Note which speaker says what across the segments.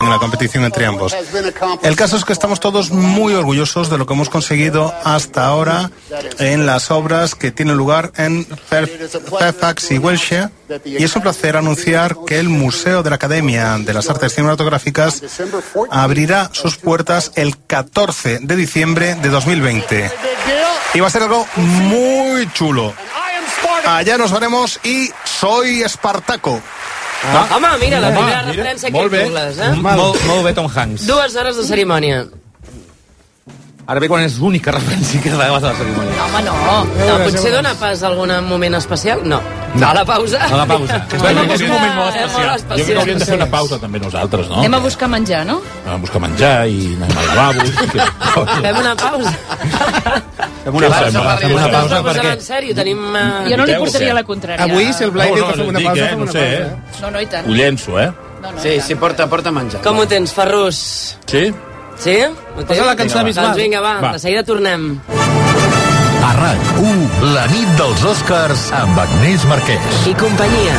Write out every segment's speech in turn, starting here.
Speaker 1: en la competición entre ambos. El caso es que estamos todos muy orgullosos de lo que hemos conseguido hasta ahora en las obras que tienen lugar en Fairfax y Wiltshire. Y es un placer anunciar que el Museo de la Academia de las Artes Cinematográficas abrirá sus puertas el 14 de diciembre de 2020. Y va a ser algo muy chulo. Allá nos veremos y soy Espartaco.
Speaker 2: Ah, home, mira, la primera ah, referència que hi
Speaker 3: molt bé.
Speaker 2: burles, eh?
Speaker 3: Molt, molt bé, Tom Hanks.
Speaker 2: Dues hores de cerimònia.
Speaker 3: Ara ve quan és l'única referència que t'agafes a la cerimònia.
Speaker 2: Home, no. no potser dona pas a algun moment especial? No.
Speaker 3: No.
Speaker 2: A la pausa?
Speaker 3: A la pausa.
Speaker 4: Bueno, és un moment molt
Speaker 2: Eh,
Speaker 4: especial. Jo crec que hauríem de fer una pausa també nosaltres, no?
Speaker 5: Anem a buscar menjar, no?
Speaker 4: Anem a buscar menjar i anem al lavabo.
Speaker 2: Fem una pausa.
Speaker 3: Fem una
Speaker 4: Què us
Speaker 3: pausa,
Speaker 4: sembla?
Speaker 3: fem una
Speaker 2: Ens
Speaker 3: pausa
Speaker 2: ho posem
Speaker 3: perquè...
Speaker 2: en sèrio, tenim...
Speaker 5: Jo
Speaker 2: Eh...
Speaker 5: no li
Speaker 4: Inviteu-vos,
Speaker 5: portaria
Speaker 4: eh?
Speaker 5: la contrària.
Speaker 6: Avui, si el Blai
Speaker 4: No,
Speaker 6: diu
Speaker 4: no,
Speaker 6: que fem
Speaker 4: no
Speaker 6: una
Speaker 4: dic,
Speaker 6: pausa,
Speaker 4: eh?
Speaker 6: fem
Speaker 4: No
Speaker 6: una
Speaker 4: sé,
Speaker 6: pausa.
Speaker 4: eh?
Speaker 5: No, no, i tant.
Speaker 4: Ho llenço, eh?
Speaker 5: No, no,
Speaker 7: Sí, sí, porta, porta menjar.
Speaker 2: Com ho tens, Ferrus?
Speaker 4: Sí?
Speaker 2: Sí? Ho tens?
Speaker 6: Posa la cançó
Speaker 2: Doncs
Speaker 6: abismal.
Speaker 2: vinga, va,
Speaker 4: Va.
Speaker 2: de seguida tornem.
Speaker 8: A RAC1, la nit dels Oscars amb Agnès Marquès.
Speaker 2: I companyia.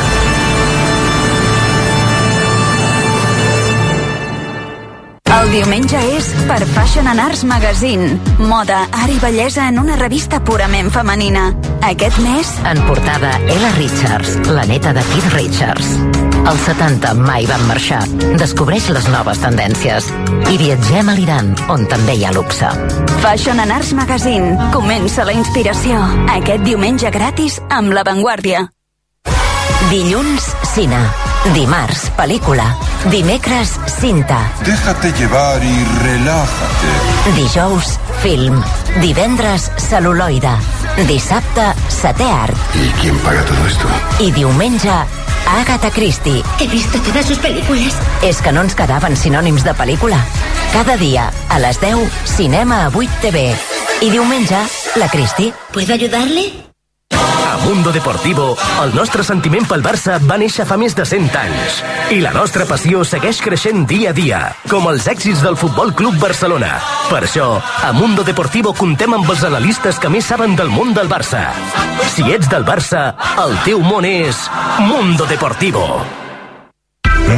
Speaker 9: El diumenge és per Fashion and Arts Magazine. Moda, art i bellesa en una revista purament femenina. Aquest mes,
Speaker 10: En portada, Ella Richards, la neta de Keith Richards. Els 70 mai van marxar. Descobreix les noves tendències. I viatgem a l'Iran, on també hi ha luxe.
Speaker 9: Fashion and Arts Magazine. Comença la inspiració. Aquest diumenge gratis amb La Vanguardia.
Speaker 10: Dilluns, cine. Dimarts, pel·lícula. Dimecres, cinta.
Speaker 8: Déjate llevar y relájate.
Speaker 10: Dijous, film. Divendres, cel·luloide. Dissabte, setè art.
Speaker 8: ¿Y quién paga todo esto?
Speaker 10: I diumenge, Agatha Christie.
Speaker 9: He visto todas sus películas.
Speaker 10: És que no ens quedaven sinònims de pel·lícula. Cada dia, a les 10, Cinema a 8 TV. I diumenge, la Cristi.
Speaker 9: ¿Puedo ayudarle?
Speaker 7: A Mundo Deportivo, el nostre sentiment pel Barça va néixer fa més de 100 anys. I la nostra passió segueix creixent dia a dia, com els èxits del Futbol Club Barcelona. Per això, a Mundo Deportivo contem amb els analistes que més saben del món del Barça. Si ets del Barça, el teu món és Mundo Deportivo.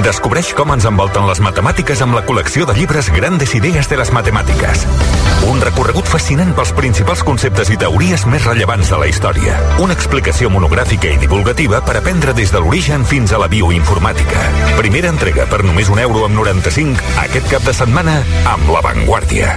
Speaker 8: Descobreix com ens envolten les matemàtiques amb la col·lecció de llibres Grandes Idees de les Matemàtiques. Un recorregut fascinant pels principals conceptes i teories més rellevants de la història. Una explicació monogràfica i divulgativa per aprendre des de l'origen fins a la bioinformàtica. Primera entrega per només un euro amb 95 aquest cap de setmana amb La Vanguardia.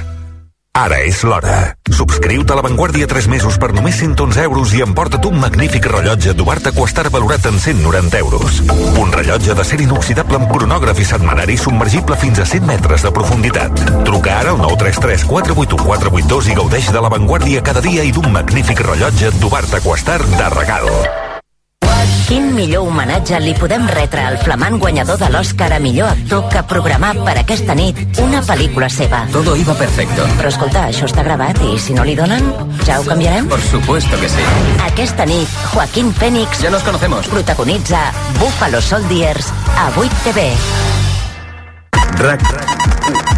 Speaker 8: Ara és l'hora. Subscriu-te a La Vanguardia 3 mesos per només 111 euros i emporta't un magnífic rellotge d'Huberta Cuestar valorat en 190 euros. Un rellotge de ser inoxidable amb cronògraf i setmanari submergible fins a 100 metres de profunditat. Truca ara al 933 481 482 i gaudeix de La Vanguardia cada dia i d'un magnífic rellotge d'Huberta Cuestar de regal.
Speaker 10: Quin millor homenatge li podem retre al flamant guanyador de l'Oscar a millor actor que programar per aquesta nit una pel·lícula seva.
Speaker 7: Todo iba perfecto.
Speaker 10: Però escolta, això està gravat i si no li donen, ja ho canviarem?
Speaker 7: supuesto que sí.
Speaker 10: Aquesta nit, Joaquín Phoenix
Speaker 7: nos conocemos.
Speaker 10: protagonitza Buffalo Soldiers a 8 TV.
Speaker 8: RAC.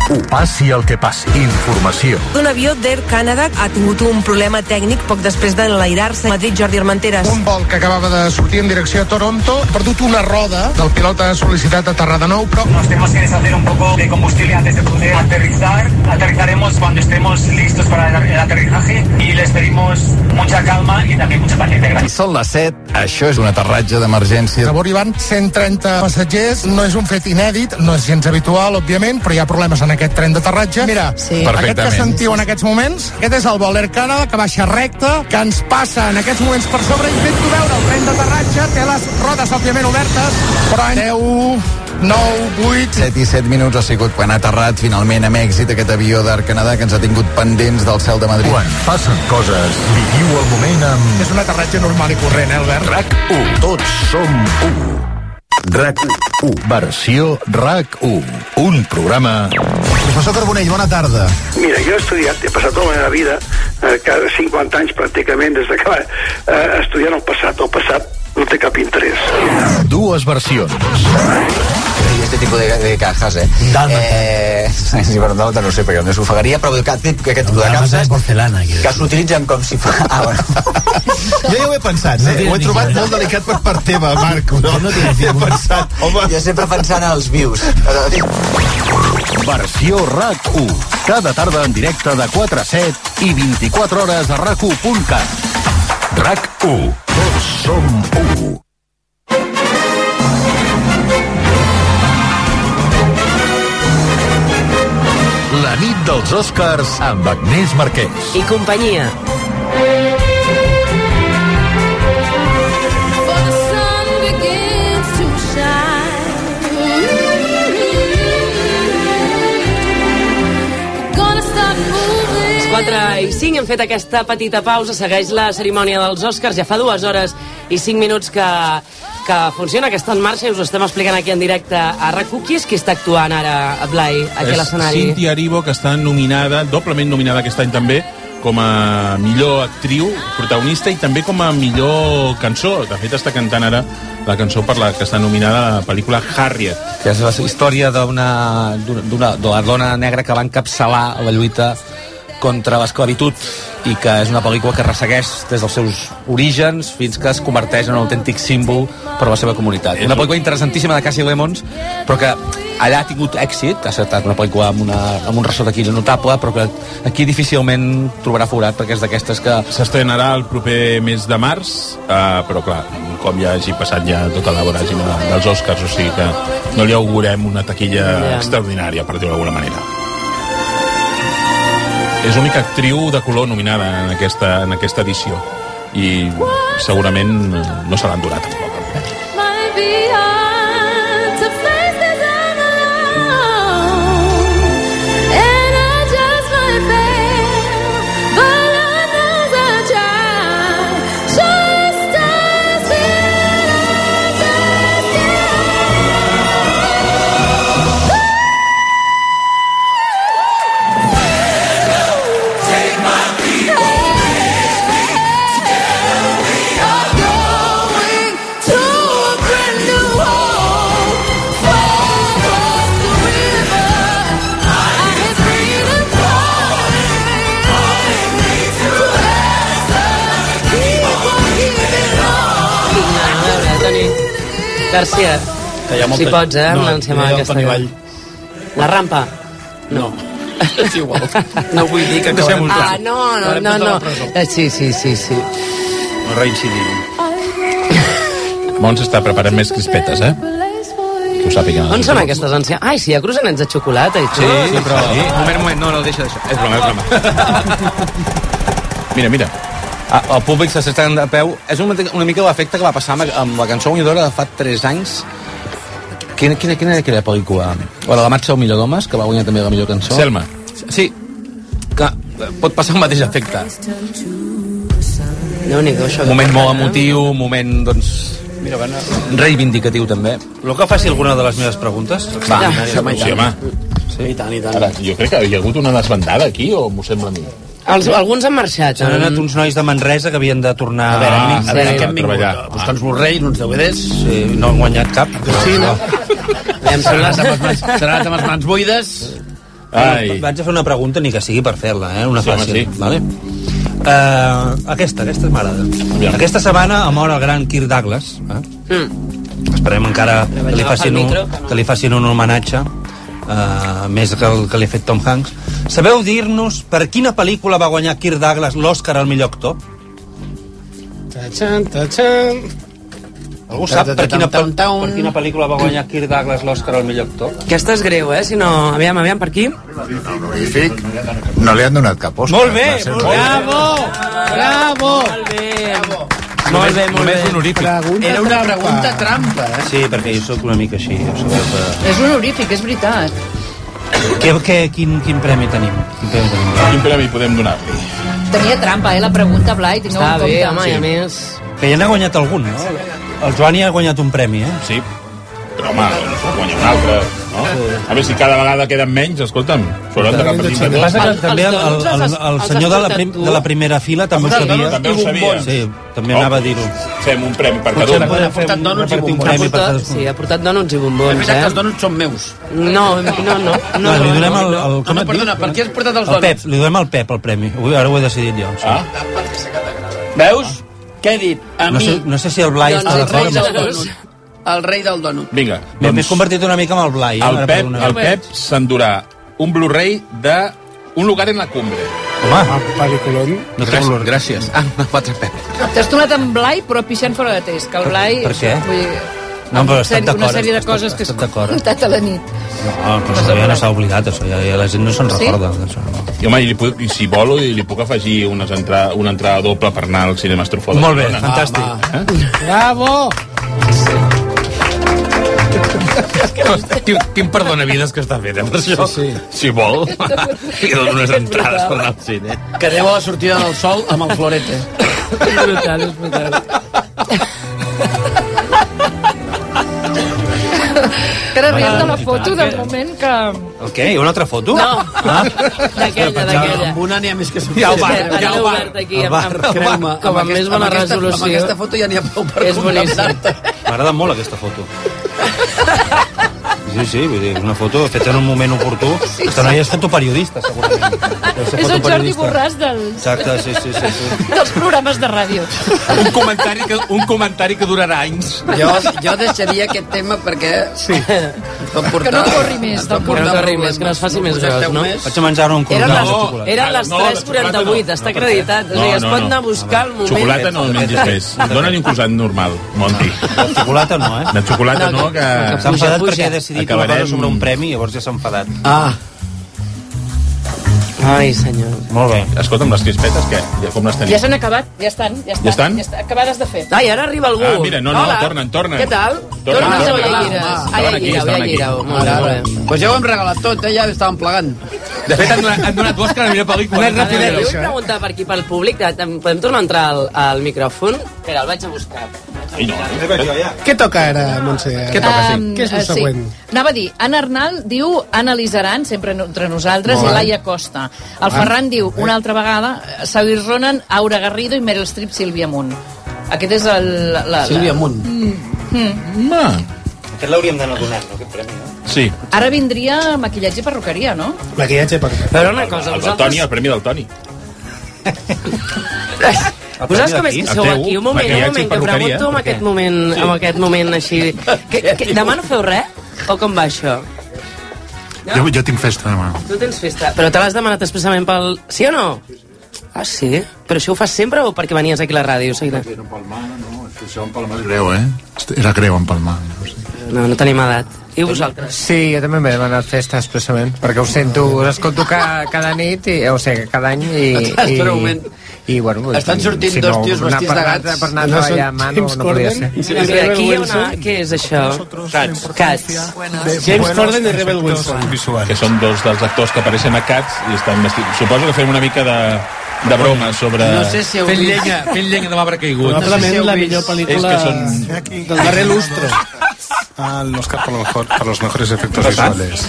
Speaker 8: Ho passi el que passi. Informació.
Speaker 5: Un avió d'Air Canada ha tingut un problema tècnic poc després d'enlairar-se a Madrid Jordi Armenteres.
Speaker 6: Un
Speaker 3: eh?
Speaker 6: vol que acabava de sortir en direcció a Toronto ha perdut una roda del pilot ha sol·licitat a Terradenou, però...
Speaker 7: Nos tenemos que deshacer un poco de combustible antes de poder aterrizar. Aterrizaremos cuando estemos listos para el el aterrizaje y les pedimos mucha calma y también mucha paciencia. Gracias.
Speaker 8: Són les 7. Això és un aterratge d'emergència.
Speaker 6: A bord hi van 130 passatgers, no és un fet inèdit, no és gens habitual, òbviament, però hi ha problemes en aquest tren d'aterratge. Mira,
Speaker 5: Sí.
Speaker 6: aquest que
Speaker 8: Perfectament.
Speaker 6: sentiu en aquests moments, aquest és el vol Air Canada que baixa recte, que ens passa en aquests moments per sobre, intento veure el tren d'aterratge, té les rodes òbviament obertes, però en 10, 9, 8,
Speaker 8: 7 i 7 minuts ha sigut quan ha aterrat finalment amb èxit aquest avió d'Air Canadà que ens ha tingut pendents del cel de Madrid. Quan passen coses, viviu el moment amb...
Speaker 6: és un aterratge normal i corrent, eh, Albert?
Speaker 8: RAC1. Tots som 1. RAC1. Versió RAC1. Un programa... Professor Carbonell, bona tarda.
Speaker 7: Mira, yo he estudiado, he pasado toda la meva vida, eh, cada 50 anys pràcticament, des de que va eh, estudiant el passat, el passat
Speaker 11: no té cap interès.
Speaker 12: Dues versions.
Speaker 13: Y este tipo de, de cajas, ¿eh? Eh, sí, però dàlmata no sé per què on s'ofegaria, però el cap, que aquest tipus de capses...
Speaker 11: Ah,
Speaker 13: porcelana. Que s'utilitzen com si... Fa... Ah, bueno.
Speaker 12: Jo
Speaker 6: 네,
Speaker 12: ja ho he pensat,
Speaker 13: No
Speaker 12: eh?
Speaker 13: tira
Speaker 12: ho he trobat
Speaker 13: ni idea.
Speaker 12: molt delicat per part teva, Marc. No, no he pensat, home...
Speaker 13: Jo sempre pensant als vius.
Speaker 12: Versió RAC1. Cada tarda en directe de 4 a 7 i 24 hores a rac1.cat.
Speaker 14: RAC1. Tots som u.
Speaker 12: La nit dels Oscars amb Agnès Marquès.
Speaker 15: I companyia. Les 4 i 5 hem fet aquesta petita pausa, segueix la cerimònia dels Oscars, ja fa dues hores i 5 minuts que, que funciona, que està en marxa i us ho estem explicant aquí en directe a rac Qui és qui està actuant ara, a Blai, aquí a
Speaker 4: És
Speaker 15: l'escenari?
Speaker 4: Cynthia Erivo, que està nominada, doblement nominada aquest any també, com a millor actriu, protagonista i també com a millor cançó. De fet, està cantant ara la cançó per la que està nominada a la pel·lícula Harriet.
Speaker 6: Que és la història d'una d'una- d'una- de la dona negra que va encapçalar la lluita contra l'esclavitud i que és una pel·lícula que ressegueix des dels seus orígens fins que es converteix en un autèntic símbol per la seva comunitat. Una pel·lícula interessantíssima de Cassie Lemons, però que allà ha tingut èxit, ha estat una pel·lícula amb, una, amb un ressò d'aquí notable, però que aquí difícilment trobarà forat perquè és d'aquestes que...
Speaker 4: S'estrenarà el proper mes de març, uh, però clar, com ja hagi passat ja tota la voràgina dels Oscars, o sigui que no li augurem una taquilla
Speaker 2: Ja.
Speaker 4: extraordinària, per dir-ho d'alguna manera. És l'única actriu de color nominada en aquesta, en aquesta edició i segurament eh, no se l'han donat tampoc.
Speaker 15: A
Speaker 2: Eh,
Speaker 15: veure, Toni. Garcia.
Speaker 16: Que hi ha molta-
Speaker 15: Si pots, eh?
Speaker 16: No,
Speaker 15: No,
Speaker 16: hi ha
Speaker 15: no,
Speaker 16: el
Speaker 15: aquesta...
Speaker 16: Toni Vall.
Speaker 15: La rampa.
Speaker 16: No. És igual. No vull dir que acabarem...
Speaker 15: Ah, no, no,
Speaker 16: Acabarem
Speaker 15: no,
Speaker 16: tots a la
Speaker 15: no.
Speaker 16: presó.
Speaker 15: Eh, Sí, sí, sí, sí.
Speaker 4: No reincidim. Mons està preparant més crispetes, eh? Que ho sàpiguen.
Speaker 15: On són aquestes ancianes? Ai, sí, hi ha croissanets de xocolata i
Speaker 4: Sí,
Speaker 15: tot.
Speaker 4: sí, però... Sí.
Speaker 6: Un moment, un moment, no, no, deixa, deixa.
Speaker 4: És broma, és broma. Mira, mira.
Speaker 6: Ah, El públic s'està estant de peu. És una, una mica l'efecte que va passar amb, amb la cançó guanyadora de fa 3 anys. Quina, quina, quina era aquella pel·lícula? O la de Marxa o Millor d'Homes, que va guanyar també la millor cançó.
Speaker 4: Selma.
Speaker 6: Sí, que eh, pot passar el mateix efecte.
Speaker 15: No, ni això.
Speaker 6: Un moment molt emotiu, un moment, doncs... Mira, reivindicatiu també.
Speaker 16: Lo que faci alguna de les meves preguntes?
Speaker 6: Va,
Speaker 4: Sí, home.
Speaker 16: Sí, i tant, i tant.
Speaker 4: Ara, jo crec que hi ha hagut una desbandada aquí, o m'ho sembla a mi?
Speaker 15: Els, alguns han marxat.
Speaker 16: S'han anat uns nois de Manresa que havien de tornar a, veure,
Speaker 4: Ah,
Speaker 16: a, veure,
Speaker 4: sí.
Speaker 16: què han vingut.
Speaker 4: treballar.
Speaker 16: A buscar uns Blu-ray, uns DVDs, eh, no han guanyat cap. Sí, no.
Speaker 15: Em
Speaker 16: S'han anat amb les mans, s'han anat amb les mans buides.
Speaker 4: Ai.
Speaker 16: Vaig a fer una pregunta, ni que sigui per fer-la, eh? una
Speaker 4: Sí, home,
Speaker 16: fàcil.
Speaker 4: sí.
Speaker 16: Vale? Uh, aquesta, aquesta m'agrada. Aquesta setmana ha mort el gran Kirk Douglas. Eh? Esperem encara que li
Speaker 15: agafar
Speaker 16: facin
Speaker 15: el
Speaker 16: un,
Speaker 15: micro, que
Speaker 16: que li facin un homenatge uh, més que el que li ha fet Tom Hanks. Sabeu dir-nos per quina pel·lícula va guanyar Kirk Douglas l'Oscar al millor actor?
Speaker 3: Tachan, tachan.
Speaker 16: Algú sap per quina, pel- per quina pel·lícula va guanyar Kirk Douglas l'Oscar al millor actor?
Speaker 15: Aquesta és greu, eh? Si no... Aviam, aviam, per aquí.
Speaker 12: Magnífic. No li han donat cap Òscar.
Speaker 16: Molt bé, molt bé.
Speaker 15: Bravo! Molt bé.
Speaker 16: Molt bé, molt bé.
Speaker 17: Era una pregunta trampa, eh?
Speaker 16: Sí, perquè jo sóc una mica així. Ja sabeu que...
Speaker 17: És honorífic, és veritat.
Speaker 16: Què, què, quin, quin premi tenim? Quin premi, tenim?
Speaker 4: Quin premi podem donar-li?
Speaker 17: Tenia trampa, eh, la pregunta, Blai, tingueu
Speaker 15: Està
Speaker 17: en
Speaker 15: bé,
Speaker 17: compte.
Speaker 15: home, i a més...
Speaker 16: Que ja n'ha guanyat algun, no? El Joan hi ha guanyat un premi, eh?
Speaker 4: Sí. Però, home, doncs, guanya un altre, no? A veure, si cada vegada queden menys, escolta'm, s'hauran de repetir
Speaker 16: El que
Speaker 4: tots.
Speaker 16: passa que també el, el, el, el senyor de la, prim, de la primera fila també ho
Speaker 4: Els
Speaker 16: sabia.
Speaker 4: donuts També ho i sabia.
Speaker 16: Sí, també anava a dir-ho.
Speaker 4: Fem un premi per
Speaker 16: Potser
Speaker 4: cada un.
Speaker 16: podem Ha fer portat un- dònuts i repartir un bombons. premi per
Speaker 2: Porta-
Speaker 16: cadascú.
Speaker 2: Sí, ha portat dònuts i bombons, eh?
Speaker 16: És veritat que els
Speaker 2: dònuts són meus. No, no, no. no, no,
Speaker 16: li donem
Speaker 2: no,
Speaker 16: el...
Speaker 2: no.
Speaker 16: el com et diu?
Speaker 2: què has portat
Speaker 16: El Pep, li donem al Pep el premi. Avui, ara ho he decidit jo. Sí. Ah?
Speaker 18: Veus? Què he dit? A
Speaker 16: No
Speaker 18: mi...
Speaker 16: sé, no sé si el Blai
Speaker 18: doncs,
Speaker 16: està
Speaker 18: el rei
Speaker 16: d'acord.
Speaker 18: del
Speaker 16: amb-
Speaker 18: dònut. El rei del dònut.
Speaker 4: Vinga, doncs
Speaker 16: M'he m'he convertit una mica en el Blai. eh,
Speaker 4: El
Speaker 16: ara
Speaker 4: Pep,
Speaker 16: perdoneu.
Speaker 4: el Pep s'endurà un Blu-ray de Un lugar en la cumbre. Ah,
Speaker 16: Home,
Speaker 4: pel·lículon.
Speaker 6: No té valor. Gràcies. Ah, no, quatre Pep.
Speaker 17: T'has tornat en Blai, però pixant fora de test, que el Blai...
Speaker 16: per què?
Speaker 17: Vull dir,
Speaker 16: No, però estem
Speaker 17: sèrie-
Speaker 16: d'acord.
Speaker 17: Una sèrie de
Speaker 16: estem-
Speaker 17: coses que
Speaker 16: estem d'acord.
Speaker 17: escoltat a la nit.
Speaker 16: No, però
Speaker 4: Ah.
Speaker 16: això ja no s'ha oblidat, això ja, ja la gent no se'n
Speaker 17: Sí?
Speaker 16: recorda. d'això, no.
Speaker 4: I, home, i, li puc, i si vol, i li puc afegir unes entra, una entrada doble per anar al cinema Estrofó. de
Speaker 16: Molt bé,
Speaker 4: Girona. Ah,
Speaker 16: fantàstic.
Speaker 18: Bravo!
Speaker 6: Quin, quin perdonavides que està fent, eh, per això. Sí, sí. Si vol, li dono unes entrades per anar al cine.
Speaker 18: Quedeu a la sortida del sol amb el florete.
Speaker 2: És brutal, és brutal.
Speaker 17: Encara rius de la foto del moment que...
Speaker 16: El què? Hi ha una altra foto?
Speaker 17: No.
Speaker 16: Ah?
Speaker 17: D'aquella,
Speaker 18: Amb una n'hi ha més que
Speaker 16: Ja ho va, ja ho va.
Speaker 2: Aquí,
Speaker 16: El
Speaker 2: amb,
Speaker 16: bar,
Speaker 2: amb,
Speaker 16: el bar.
Speaker 2: amb, com a més bona
Speaker 18: Amb
Speaker 2: resolució.
Speaker 18: aquesta foto ja n'hi ha prou per
Speaker 2: És boníssim.
Speaker 16: M'agrada molt aquesta foto. Sí, sí, vull dir, una foto feta en un moment oportú. Sí, Aquesta noia és fotoperiodista, segurament. Deu ser
Speaker 17: És el Jordi
Speaker 16: fotoperiodista.
Speaker 17: Borràs del...
Speaker 16: Exacte, sí, sí, sí. sí.
Speaker 17: dels programes de ràdio.
Speaker 6: Un comentari que, un comentari que durarà anys.
Speaker 18: Jo, jo deixaria aquest tema perquè... Sí. Portar,
Speaker 17: Que no corri més, tampoc.
Speaker 2: Que no corri més, que no es faci més gros, no?
Speaker 16: Vaig a menjar un
Speaker 2: Eren
Speaker 16: cordó de
Speaker 2: les,
Speaker 16: xocolata.
Speaker 2: eren les
Speaker 4: No, de xocolata
Speaker 2: 3.48,
Speaker 4: no.
Speaker 2: està acreditat. O
Speaker 4: No,
Speaker 2: sigui, es
Speaker 4: no,
Speaker 2: pot
Speaker 4: no.
Speaker 2: anar a buscar el moment.
Speaker 4: Xocolata no en mengis més. Dóna-li un croissant normal, Monti.
Speaker 16: De xocolata no, eh?
Speaker 4: De xocolata Ah, no, que...
Speaker 16: S'ha enfadat perquè ha decidit Acabarem... una
Speaker 4: Acabarem-
Speaker 16: cosa sobre un premi i llavors ja s'ha enfadat.
Speaker 18: Ah.
Speaker 2: Ai, senyor.
Speaker 16: Molt bé.
Speaker 4: Escolta'm, les crispetes, què? Ja com les tenim?
Speaker 17: Ja s'han acabat, ja estan, ja estan.
Speaker 4: Ja estan?
Speaker 17: acabades de fer.
Speaker 2: Ai, ara arriba algú.
Speaker 4: Ah, mira, no, no,
Speaker 2: Hola.
Speaker 4: tornen, tornen.
Speaker 2: Què tal?
Speaker 4: Tornen,
Speaker 2: Tornen,
Speaker 4: tornen.
Speaker 2: ja hi eres.
Speaker 4: Ah,
Speaker 2: Ah, ja
Speaker 4: estaven
Speaker 2: hi
Speaker 4: aquí,
Speaker 2: éreu, ja
Speaker 4: estaven
Speaker 2: hi
Speaker 4: aquí.
Speaker 2: éreu. Molt
Speaker 18: Molt
Speaker 2: bé.
Speaker 18: bé. Pues ja ho hem regalat tot, eh? ja estàvem plegant. eh?
Speaker 6: De fet, han donat, han donat dues que la millor pel·lícula.
Speaker 2: Ara, ara, vull preguntar per aquí, pel públic, que em- podem tornar a entrar al, al micròfon? Espera, el vaig a buscar.
Speaker 4: Ai, no. eh?
Speaker 11: Què toca ara, Montse?
Speaker 4: Què toca, sí?
Speaker 17: Em,
Speaker 11: Què és
Speaker 17: eh,
Speaker 11: el següent?
Speaker 17: Sí. Anava a dir, Anna Arnal diu analitzaran sempre no- entre nosaltres
Speaker 11: Molt
Speaker 17: i
Speaker 11: bé.
Speaker 17: Laia Costa. El
Speaker 11: Molt bé.
Speaker 17: Ferran diu, una altra vegada, Saoirse Ronan, Aura Garrido i Meryl Streep, Sílvia Munt. Aquest és el... La, la,
Speaker 18: Sílvia Munt.
Speaker 17: Mm.
Speaker 4: Ah.
Speaker 16: Aquest l'hauríem d'anar donant, no? Aquest premi, no?
Speaker 4: Sí.
Speaker 17: Ara vindria maquillatge i perruqueria, no?
Speaker 11: Maquillatge per...
Speaker 2: Però una cosa,
Speaker 4: El del
Speaker 2: vosaltres-
Speaker 4: Toni, el premi del Toni.
Speaker 2: Vosaltres com és que
Speaker 4: El
Speaker 2: sou
Speaker 4: teu,
Speaker 2: aquí? Un moment, un
Speaker 4: maquillatge i
Speaker 2: moment, que
Speaker 4: perruqueria.
Speaker 2: pregunto
Speaker 4: Per
Speaker 2: amb
Speaker 4: què?
Speaker 2: aquest moment,
Speaker 4: Sí.
Speaker 2: amb aquest moment així. Que, que, demà no feu res? O com va això?
Speaker 15: Jo, jo tinc festa demà.
Speaker 2: Tu tens festa, però te l'has demanat expressament pel... Sí o no? Ah, sí? Però això ho fas sempre o perquè venies aquí a la ràdio? Seguida?
Speaker 15: Això en Palma és greu, eh? Era greu en Palma.
Speaker 2: No, no tenim edat. I vosaltres?
Speaker 11: Doncs Sí, jo també m'he demanat festa expressament, perquè us sento, us escolto ca, cada nit, i, o sigui, cada any, i... i
Speaker 18: Espera un moment.
Speaker 11: i bueno, vull
Speaker 18: Estan
Speaker 11: dir,
Speaker 18: sortint dos tios
Speaker 11: anar
Speaker 18: vestits de
Speaker 11: per-
Speaker 18: gats.
Speaker 11: Per anar a
Speaker 18: No són
Speaker 11: treballar a mano
Speaker 18: James
Speaker 11: no podia ser.
Speaker 18: Corden? Sí,
Speaker 2: Mira,
Speaker 18: Rebel
Speaker 2: aquí hi ha una...
Speaker 18: Wilson.
Speaker 2: Què és això? Cats. Cats.
Speaker 4: Buenos Que són dos dels actors que apareixen a Cats i estan vestits. Suposo que fem una mica de, de broma sobre...
Speaker 18: No sé si heu
Speaker 6: Fent
Speaker 18: vist-
Speaker 6: llenya, fent llenya de l'arbre caigut.
Speaker 1: Probablement
Speaker 18: la millor
Speaker 1: película del darrer lustro. Al Ah, Oscar por lo mejor, para los mejores efectos visuales.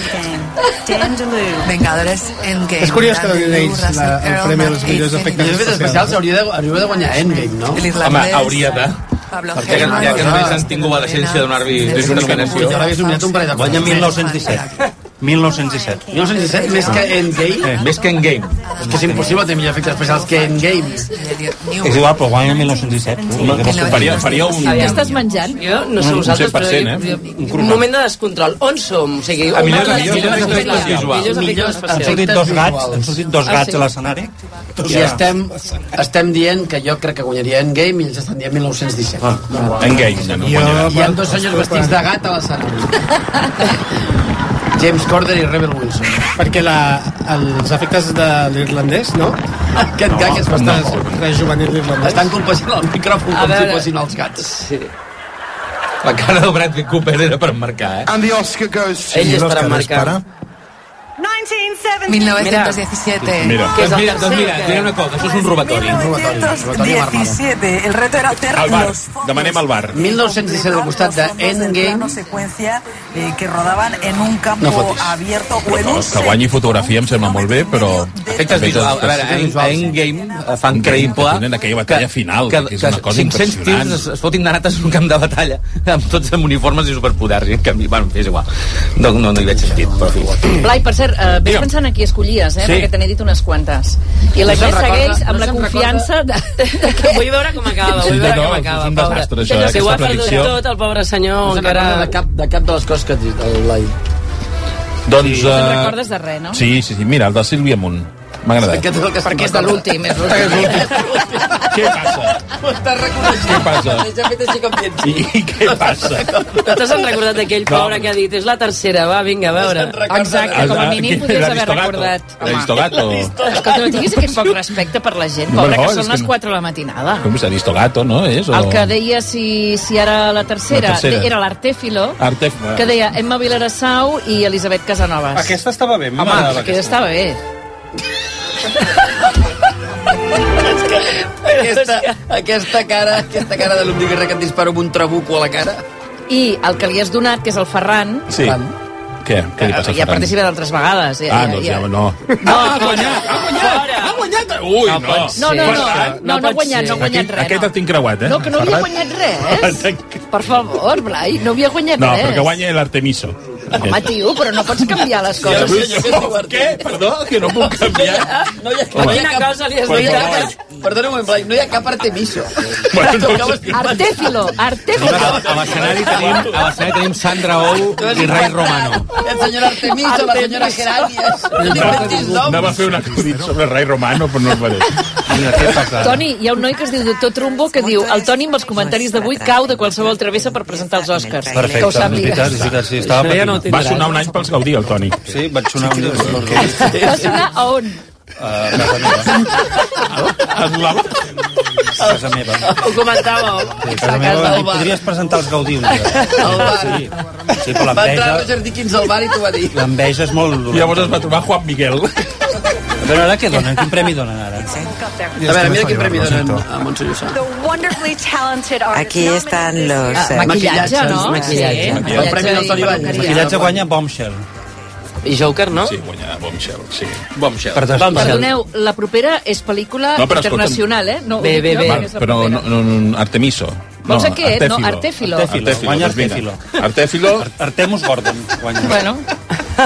Speaker 19: Vengadores Endgame.
Speaker 11: És curiós que no li deis la- el premi als millors
Speaker 18: Els
Speaker 11: efectes
Speaker 18: efectes especials hauria de, hauria de guanyar Endgame, no?
Speaker 6: Home, hauria de... Perquè
Speaker 16: Ah,
Speaker 6: ja, ja que només han tingut la decència de donar-li
Speaker 18: És
Speaker 6: una nominació.
Speaker 18: Jo l'hagués nominat un parell de
Speaker 16: Guanya 1917. 1917.
Speaker 18: 1917, més que Endgame?
Speaker 16: Eh, més que Endgame.
Speaker 18: És que és impossible tenir millors efectes especials que Endgame.
Speaker 16: És igual, però guanya 1917. tu. Què vols que faria?
Speaker 4: faria un-
Speaker 17: Què estàs menjant?
Speaker 2: Jo no sé
Speaker 16: Un
Speaker 2: vosaltres, però
Speaker 16: 100%, eh?
Speaker 2: jo- jo-
Speaker 16: Un
Speaker 2: un
Speaker 16: corbat.
Speaker 2: moment de descontrol. On som? O sigui,
Speaker 16: A millors- millors
Speaker 2: on- millors
Speaker 16: efectes
Speaker 2: efectes
Speaker 16: visuals.
Speaker 2: Millors efectes
Speaker 16: Han
Speaker 18: Millors
Speaker 2: especials.
Speaker 16: sortit dos gats,
Speaker 18: visuals.
Speaker 16: han sortit dos
Speaker 18: Ah,
Speaker 16: gats
Speaker 18: sí.
Speaker 16: a l'escenari.
Speaker 18: I estem, estem dient que jo crec que guanyaria Endgame i ells estan dient 1917. Ah,
Speaker 4: Endgame, no, no guanyarà.
Speaker 18: Hi ha dos senyors vestits de gat a la sala. James Corden i Rebel Wilson.
Speaker 11: Perquè la, els efectes de l'irlandès, no?
Speaker 18: Aquest gat és bastant...
Speaker 11: Estàs rejuvenint l'irlandès.
Speaker 18: Estan colpejant el micròfon
Speaker 11: A
Speaker 18: com si
Speaker 11: veure.
Speaker 18: fossin els gats. Sí.
Speaker 6: La cara de Bradley Cooper era per marcar, eh?
Speaker 20: And the Oscar goes
Speaker 6: Ell és per emmarcar.
Speaker 20: Para.
Speaker 19: 1917.
Speaker 6: Mira,
Speaker 19: Que
Speaker 6: pues
Speaker 19: és el
Speaker 6: mira, doncs
Speaker 19: tercer,
Speaker 6: mira,
Speaker 19: que-
Speaker 6: et diré una cosa, això és un robatori.
Speaker 18: robatori armado.
Speaker 19: 1917. El reto era hacer
Speaker 4: Al bar.
Speaker 19: los
Speaker 4: Demanem al bar.
Speaker 18: 1917 al costat de
Speaker 19: fondos del
Speaker 18: Endgame.
Speaker 19: plano secuencia eh, que rodaban en un campo
Speaker 4: No fotis.
Speaker 19: abierto o en
Speaker 4: No,
Speaker 19: un
Speaker 4: que guanyi fotografia em sembla molt bé, però...
Speaker 6: Efectes visuals. A veure, en, a Endgame eh, fan creïble...
Speaker 4: En aquella batalla final, que,
Speaker 6: que,
Speaker 4: és una cosa
Speaker 6: 500 tios es,
Speaker 4: impressionant.
Speaker 6: es fotin granates en un camp de batalla amb tots amb uniformes i superpoders i en canvi, bueno, en fi, és igual no, no, no hi veig sentit però en fi.
Speaker 17: Blai, per cert, eh, vés
Speaker 6: Mm. Digue'm.
Speaker 17: pensant a qui escollies, eh?
Speaker 6: Sí.
Speaker 17: Perquè te n'he dit unes quantes. I
Speaker 2: No
Speaker 17: la no
Speaker 2: se'n
Speaker 17: Inés segueix
Speaker 2: recorda-
Speaker 17: amb
Speaker 2: no
Speaker 17: la
Speaker 2: se'n
Speaker 17: confiança de, de que...
Speaker 2: Vull veure com acaba, vull
Speaker 18: Sí,
Speaker 2: veure
Speaker 18: no,
Speaker 2: com
Speaker 18: és
Speaker 2: acaba.
Speaker 18: un
Speaker 2: pobre.
Speaker 18: desastre, això, eh,
Speaker 2: Si ho ha
Speaker 18: aquesta
Speaker 2: perdut
Speaker 18: predicció.
Speaker 2: tot, el pobre senyor,
Speaker 18: No se'n
Speaker 2: encara...
Speaker 18: recorda de cap, de cap de les coses que has dit, el Blai.
Speaker 4: Doncs...
Speaker 18: Sí. No te'n
Speaker 4: eh,
Speaker 18: recordes de res, no?
Speaker 4: Sí, sí, sí. Mira, el de Sílvia Munt. M'ha agradat.
Speaker 18: Aquest és el que
Speaker 17: Perquè és de l'últim, és
Speaker 18: l'últim.
Speaker 4: Què passa?
Speaker 18: Ho estàs reconeixent.
Speaker 4: Què passa?
Speaker 18: Ja fet així com dient.
Speaker 4: I, i què passa?
Speaker 2: No te s'han recordat d'aquell
Speaker 4: No.
Speaker 2: pobre que ha dit és la tercera, va, vinga, a veure.
Speaker 17: Exacte, com a mínim podries haver
Speaker 4: L'Aristogato.
Speaker 17: recordat. Home.
Speaker 4: L'Aristogato.
Speaker 17: Escolta, no tinguis aquest poc respecte per la gent,
Speaker 4: No,
Speaker 17: pobra,
Speaker 4: no,
Speaker 17: que
Speaker 4: és
Speaker 17: són
Speaker 4: que
Speaker 17: les
Speaker 4: no.
Speaker 17: 4 de la matinada.
Speaker 4: Com és Aristogato, no? És, o...
Speaker 17: El que deia si, si ara la tercera,
Speaker 4: La tercera.
Speaker 17: de- era l'Artefilo,
Speaker 4: Artef...
Speaker 17: que deia Emma Vilarasau i Elisabet Casanovas.
Speaker 16: eh, Aquesta estava bé,
Speaker 17: Home,
Speaker 16: m'agradava
Speaker 17: que estava bé.
Speaker 18: Aquesta, aquesta cara, aquesta cara de l'Umdiguerra que et disparo amb un trabuco a la cara.
Speaker 17: I el que li has donat, que és el Ferran,
Speaker 4: Sí. Què? Què li passa a
Speaker 17: ja
Speaker 4: Ferran?
Speaker 17: participa d'altres vegades. Ja,
Speaker 4: Ah, doncs ja, no.
Speaker 17: No, ha guanyat, ha ah, guanyat, Ah, ha
Speaker 4: guanyat. Ui, no.
Speaker 17: No, no, no, no,
Speaker 4: Ferran,
Speaker 17: no, no ha guanyat, no ha guanyat
Speaker 4: Aquest,
Speaker 17: res.
Speaker 4: aquest el tinc creuat, eh?
Speaker 17: No, que no havia
Speaker 4: Ferran.
Speaker 17: guanyat res. eh? Per favor, Blai, no havia guanyat
Speaker 4: No,
Speaker 17: res.
Speaker 4: perquè guanya l'Artemiso.
Speaker 17: Home, tio, però no pots canviar les coses.
Speaker 4: Què? Perdó, que no puc canviar.
Speaker 18: No hi ha,
Speaker 4: Home.
Speaker 18: no hi ha cap...
Speaker 17: cosa li has
Speaker 18: no hi ha
Speaker 17: dit, eh?
Speaker 18: cap- Perdona un moment, Blai, no hi ha cap Artemiso.
Speaker 4: Bueno, no ho sé.
Speaker 17: Artefilo, Artefilo.
Speaker 6: a a l'escenari tenim, a l'escenari tenim Sandra Ou i Ray Romano
Speaker 18: El senyor Artemiso, la senyora Geràmies.
Speaker 4: Anava a fer un acudit sobre Ray Romano, però no el faré. Mira, què passa?
Speaker 17: Toni, hi ha un noi que es diu Doctor Trumbo que diu el Toni amb els comentaris d'avui cau de qualsevol travessa per presentar els Oscars. que ho
Speaker 4: doncs,
Speaker 17: sàpigues.
Speaker 16: sí, estava
Speaker 4: Això ja no
Speaker 16: patint.
Speaker 4: Va sonar un any pels Gaudí, el Toni.
Speaker 16: Sí, vaig sonar un...
Speaker 17: Va sonar a on?
Speaker 4: Es la...
Speaker 16: Casa meva.
Speaker 2: Ho comentàveu.
Speaker 16: Sí, casa meva van dir, podries presentar els Gaudí un dia. Sí, sí però
Speaker 18: Va entrar
Speaker 16: l'enveja...
Speaker 18: Roger Dickens al bar i t'ho va dir.
Speaker 16: L'enveja és molt dolent.
Speaker 4: Llavors es va trobar Juan Miguel.
Speaker 16: Però ara què donen? Quin premi donen ara?
Speaker 18: A veure, mira quin premi donen a Montse Llussà.
Speaker 19: Aquí están los...
Speaker 18: Ah,
Speaker 19: eh,
Speaker 18: maquillatge,
Speaker 19: maquillatges,
Speaker 18: no?
Speaker 19: maquillatge.
Speaker 18: Sí, maquillatge El premi del Toni i Valls.
Speaker 16: El maquillatge guanya Bombshell.
Speaker 2: I Joker, no?
Speaker 4: Sí, guanyarà Bombshell, sí. Bombshell.
Speaker 17: Perdoneu, la propera és pel·lícula
Speaker 4: No, però escolta'm.
Speaker 17: internacional, eh? No, ho
Speaker 4: Bé,
Speaker 17: dic
Speaker 4: bé,
Speaker 17: jo,
Speaker 4: bé.
Speaker 17: perquè és la
Speaker 4: però no, no, no, Artemiso.
Speaker 17: Vols aquest? No, Artefilo.
Speaker 4: Artefilo.
Speaker 17: Artefilo,
Speaker 4: Guanya
Speaker 16: doncs vinga.
Speaker 4: Artefilo. Artefilo.
Speaker 16: Artemus Gordon guanya.
Speaker 17: Bueno.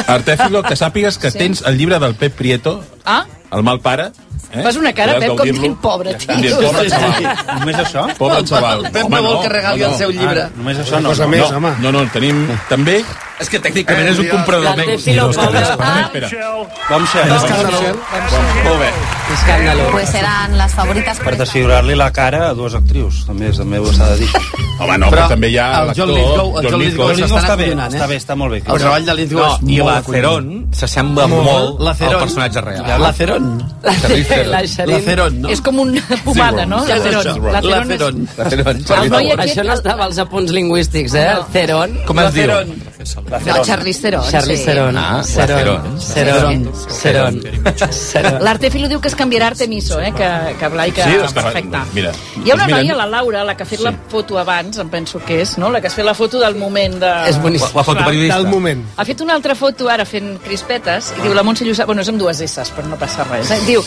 Speaker 4: Artefilo, que sàpigues que
Speaker 17: Sí.
Speaker 4: tens el llibre del Pep Prieto,
Speaker 17: Ah,
Speaker 4: el mal pare. Eh?
Speaker 17: fas una cara,
Speaker 4: Podràs
Speaker 17: Pep, com
Speaker 4: gaudir-lo.
Speaker 17: dient pobre, tio.
Speaker 4: Dient, pobre xaval.
Speaker 16: Només això?
Speaker 4: Pobre xaval.
Speaker 18: Pep no vol que regali el seu llibre.
Speaker 16: Ah, només això no.
Speaker 4: no,
Speaker 16: No.
Speaker 4: no, no, no, el tenim també... És que tècnicament és un comprador menys.
Speaker 2: Artefilo, pobre.
Speaker 4: Espera,
Speaker 16: Bombshell. Bombshell.
Speaker 4: molt bé.
Speaker 2: Escàndalo.
Speaker 19: Pues
Speaker 18: eh,
Speaker 19: eran las favoritas
Speaker 16: Per desfigurar-li la cara a dues actrius, també, és- també ho s'ha de dir.
Speaker 4: Home, no, però també hi ha
Speaker 18: el John
Speaker 4: l'actor...
Speaker 18: Lithgow- el John Lithgow
Speaker 16: Però
Speaker 18: s'estan
Speaker 16: està bé,
Speaker 18: acollonant, eh?
Speaker 16: està bé, està molt bé.
Speaker 18: El treball de Lithgow és
Speaker 6: i
Speaker 18: molt
Speaker 6: la
Speaker 18: acollonant.
Speaker 6: Ceron s'assembla
Speaker 18: Molt.
Speaker 6: molt
Speaker 18: La
Speaker 6: al
Speaker 18: Theron.
Speaker 6: personatge real
Speaker 18: La Theron.
Speaker 2: La Xerin.
Speaker 18: Theron, no?
Speaker 17: és com una pomada, no?
Speaker 18: Què
Speaker 17: La
Speaker 18: és
Speaker 17: Ceron.
Speaker 18: això?
Speaker 17: La
Speaker 18: La
Speaker 17: Ceron és...
Speaker 18: Theron.
Speaker 6: La Theron,
Speaker 17: El noi aquest-
Speaker 2: Això no estava als apunts lingüístics, eh?
Speaker 17: No.
Speaker 2: Ceron.
Speaker 6: Com es diu?
Speaker 18: Theron.
Speaker 17: No, Charlize Theron.
Speaker 2: Charlie
Speaker 17: sí.
Speaker 2: Ceron.
Speaker 6: Ah, la
Speaker 2: Ceron.
Speaker 6: Theron.
Speaker 2: Ceron. Ceron. Ceron.
Speaker 17: L'Artefilo diu que es canviarà Artemiso, eh? que, que Blai que...
Speaker 4: Sí, doncs que fa-
Speaker 17: perfecte.
Speaker 4: mira,
Speaker 17: Hi ha una
Speaker 4: doncs mira,
Speaker 17: noia,
Speaker 4: no-
Speaker 17: la Laura, la que ha fet la foto abans, em penso que és, no? la que has fet la foto del moment de...
Speaker 2: És boníssim.
Speaker 6: la foto periodista
Speaker 11: Del moment.
Speaker 17: Ha fet una altra foto ara fent crispetes i diu la Montse Llussà... Bueno, és amb dues S's, però no passa res. Eh? Diu,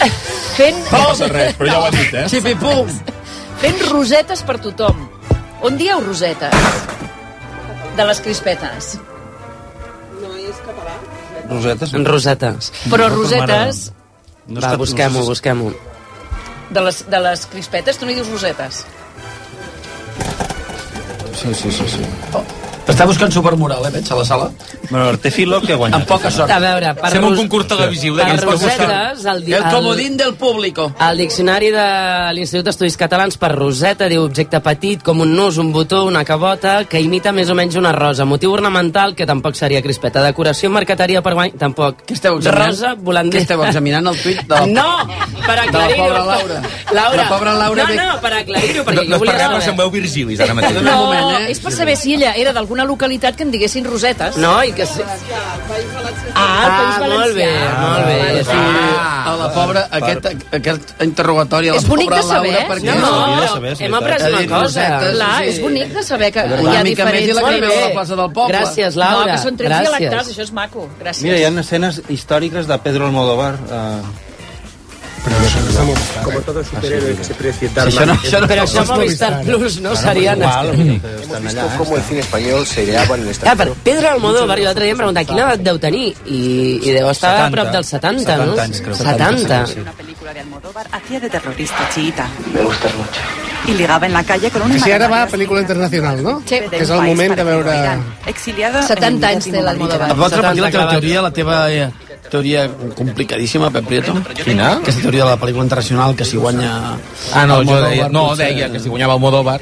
Speaker 17: fent,
Speaker 4: No passa res, però ja ho has dit, eh?
Speaker 18: Xipipum.
Speaker 17: fent rosetes per tothom. On dieu rosetes? De les crispetes.
Speaker 16: Rosetes?
Speaker 2: En rosetes.
Speaker 17: Però rosetes
Speaker 16: No
Speaker 2: Va, busquem-ho, busquem-ho.
Speaker 17: de les, de les crispetes, tu no hi dius rosetes.
Speaker 16: Sí, sí, sí. sí.
Speaker 18: Oh. Està buscant supermoral, eh, veig, a la sala.
Speaker 16: Bueno, Artefilo, que guanya?
Speaker 18: Amb poca sort.
Speaker 2: A veure, per,
Speaker 6: Fem un
Speaker 2: ros
Speaker 6: concurs televisiu eh?
Speaker 2: per
Speaker 6: d'aquells que busquen.
Speaker 2: rosetes, el, di-
Speaker 18: El
Speaker 2: el,
Speaker 18: comodín del público.
Speaker 2: El diccionari de l'Institut d'Estudis Catalans per roseta diu objecte petit com un nus, un botó, una cabota que imita més o menys una rosa. Motiu ornamental que tampoc seria crispeta. Decoració mercateria per guany tampoc.
Speaker 18: Què esteu examinant?
Speaker 2: Rosa, volant
Speaker 18: Què esteu examinant el tuit de la...
Speaker 2: No, per
Speaker 18: De la
Speaker 2: aclarir-ho.
Speaker 18: pobra Laura.
Speaker 2: Laura.
Speaker 18: La pobra Laura
Speaker 2: No,
Speaker 18: ve-
Speaker 2: no, per aclarir-ho,
Speaker 6: No,
Speaker 2: perquè
Speaker 6: no
Speaker 2: jo volia
Speaker 6: parlem,
Speaker 2: saber.
Speaker 6: sembleu Virgilis ara mateix.
Speaker 17: No,
Speaker 18: moment, eh?
Speaker 17: és per saber si ella era d'alguna una localitat que en diguessin Rosetes.
Speaker 2: No, i que sí.
Speaker 17: Ah, el País
Speaker 18: Ah,
Speaker 17: Valencià.
Speaker 18: molt bé, molt bé.
Speaker 17: Ah,
Speaker 18: O sigui, a la pobra, aquest, aquest interrogatori a la
Speaker 17: És bonic
Speaker 18: pobra
Speaker 17: de saber.
Speaker 18: Laura, perquè...
Speaker 17: No,
Speaker 18: Sí,
Speaker 17: no,
Speaker 18: de saber, és
Speaker 2: hem
Speaker 18: veritat.
Speaker 2: après una
Speaker 18: Ha dit
Speaker 2: cosa.
Speaker 18: rosetes,
Speaker 17: Clar,
Speaker 18: sí.
Speaker 17: és bonic de saber que
Speaker 18: És veritat.
Speaker 17: hi
Speaker 18: Una
Speaker 17: ha
Speaker 18: mica més i
Speaker 17: diferents...
Speaker 18: la que
Speaker 17: Molt
Speaker 18: veu a la
Speaker 17: bé.
Speaker 18: plaça del poble.
Speaker 2: Gràcies, Laura.
Speaker 17: No, que són 13
Speaker 2: Gràcies.
Speaker 17: dialectals, això és maco. Gràcies.
Speaker 16: Mira, hi ha escenes històriques de Pedro Almodóvar. Eh... Però això és molt Com a tot superhéroe que se precie
Speaker 18: dar
Speaker 16: això no,
Speaker 18: más-
Speaker 16: això no,
Speaker 18: Però
Speaker 2: això Movistar Plus, no? Serien
Speaker 21: cómo el cine español se ideaba en el
Speaker 2: Clar, per Ah, Pedro Almodóvar, i l'altre dia em preguntava quina edat deu tenir, i, i deu estar
Speaker 21: 70.
Speaker 2: a prop dels 70, no?
Speaker 21: 70 anys, creo.
Speaker 2: 70.
Speaker 21: Sí, sí.
Speaker 19: Hacía de terrorista chiita
Speaker 21: Me gustas mucho.
Speaker 19: y ligaba en la calle con un
Speaker 3: Si ara va a
Speaker 19: imán
Speaker 3: pel·lícula internacional, no?
Speaker 19: Sí.
Speaker 3: Que és el moment de veure...
Speaker 19: exiliado
Speaker 17: 70 anys té l'Almodóvar.
Speaker 19: l'Almodóvar.
Speaker 18: Pots repetir la teva teoria, la teva eh, teoria complicadíssima, Pep Prieto? Quina? Aquesta teoria de la pel·lícula internacional que si guanya...
Speaker 6: Ah, no, jo
Speaker 18: Almodóvar,
Speaker 6: deia, no,
Speaker 18: potser-
Speaker 6: deia que si guanyava Almodóvar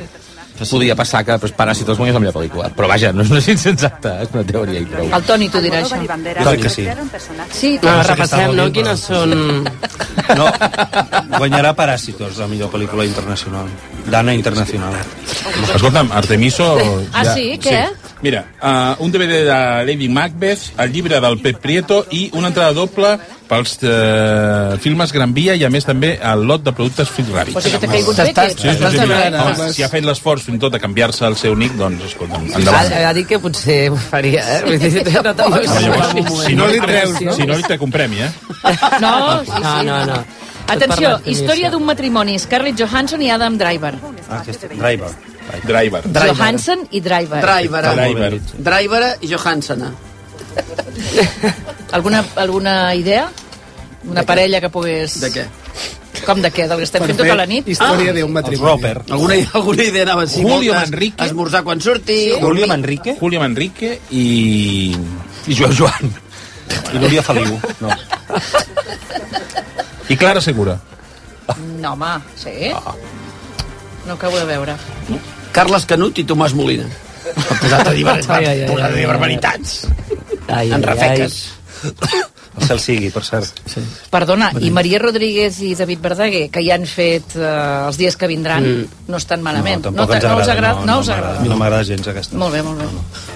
Speaker 6: podia passar que pues, Paràsitos guanyés la millor pel·lícula. Però vaja, no, no és insensata, eh, és una teoria. i prou.
Speaker 17: El Toni t'ho dirà, això.
Speaker 6: Jo crec que sí.
Speaker 17: Sí,
Speaker 6: No,
Speaker 16: sé què
Speaker 6: repassem,
Speaker 16: estava
Speaker 6: no?
Speaker 16: dient, però-
Speaker 2: Quines són...
Speaker 16: Guanyarà Paràsitos, la millor pel·lícula internacional. Dana Internacional.
Speaker 4: Escolta'm, Artemiso...
Speaker 17: Ah, sí? Què?
Speaker 4: Mira, uh, un DVD de Lady Macbeth, el llibre del Pep Prieto i una entrada doble pels uh, filmes Gran Via i, a més, també el lot de productes Fit Rabbit.
Speaker 17: O sigui que t'ha caigut bé,
Speaker 4: T'estàs- sí,
Speaker 17: que-
Speaker 4: sí,
Speaker 17: t'estàs
Speaker 4: sí, mira,
Speaker 17: treballant,
Speaker 4: home,
Speaker 17: eh?
Speaker 4: si ha fet l'esforç fins i tot a canviar-se el seu nick, doncs, escolta'm,
Speaker 2: Ha,
Speaker 4: endavant.
Speaker 2: ha dit que potser ho faria, eh? Vull dir, no te'n
Speaker 4: Però llavors,
Speaker 2: dubto.
Speaker 4: si no li treus, no? Si no li trec un premi, eh?
Speaker 17: No, sí,
Speaker 2: No,
Speaker 17: sí.
Speaker 2: no, no.
Speaker 17: Atenció, història d'un matrimoni, Scarlett Johansson i Adam Driver.
Speaker 16: Ah, aquesta- Driver.
Speaker 4: Driver.
Speaker 17: Johansson i Driver.
Speaker 18: Driver.
Speaker 16: Driver.
Speaker 18: Driver i Johansson.
Speaker 17: Alguna, alguna idea? Una parella que pogués...
Speaker 18: De què?
Speaker 17: Com de què? Del que estem fent tota la nit?
Speaker 18: Ah.
Speaker 16: Roper.
Speaker 18: Alguna, alguna idea anava així.
Speaker 4: Julio
Speaker 18: moltes,
Speaker 4: Manrique.
Speaker 18: Esmorzar quan surti.
Speaker 16: Julio Manrique.
Speaker 4: Julio Manrique i...
Speaker 16: I Joan Joan. I Núria Feliu. No.
Speaker 4: I Clara Segura.
Speaker 17: No, home, sí. No acabo de veure.
Speaker 18: Carles Canut i Tomàs Molina. Ha posat a dir,
Speaker 17: Ai, ai, ai,
Speaker 18: posat a
Speaker 17: ai, ai.
Speaker 18: dir barbaritats.
Speaker 2: Ai,
Speaker 18: en
Speaker 17: ai,
Speaker 18: refeques.
Speaker 16: El cel sigui, per cert. Sí.
Speaker 17: Perdona, i Maria Rodríguez i David Verdaguer, que ja han fet eh, els dies que vindran,
Speaker 16: Mm.
Speaker 17: mm. no estan malament.
Speaker 16: No, tampoc
Speaker 17: t'a-
Speaker 16: ens
Speaker 17: no us
Speaker 16: agrada, no,
Speaker 17: agrada? No,
Speaker 16: no
Speaker 17: us agrada.
Speaker 16: No m'agrada gens aquesta.
Speaker 17: Molt bé, molt bé.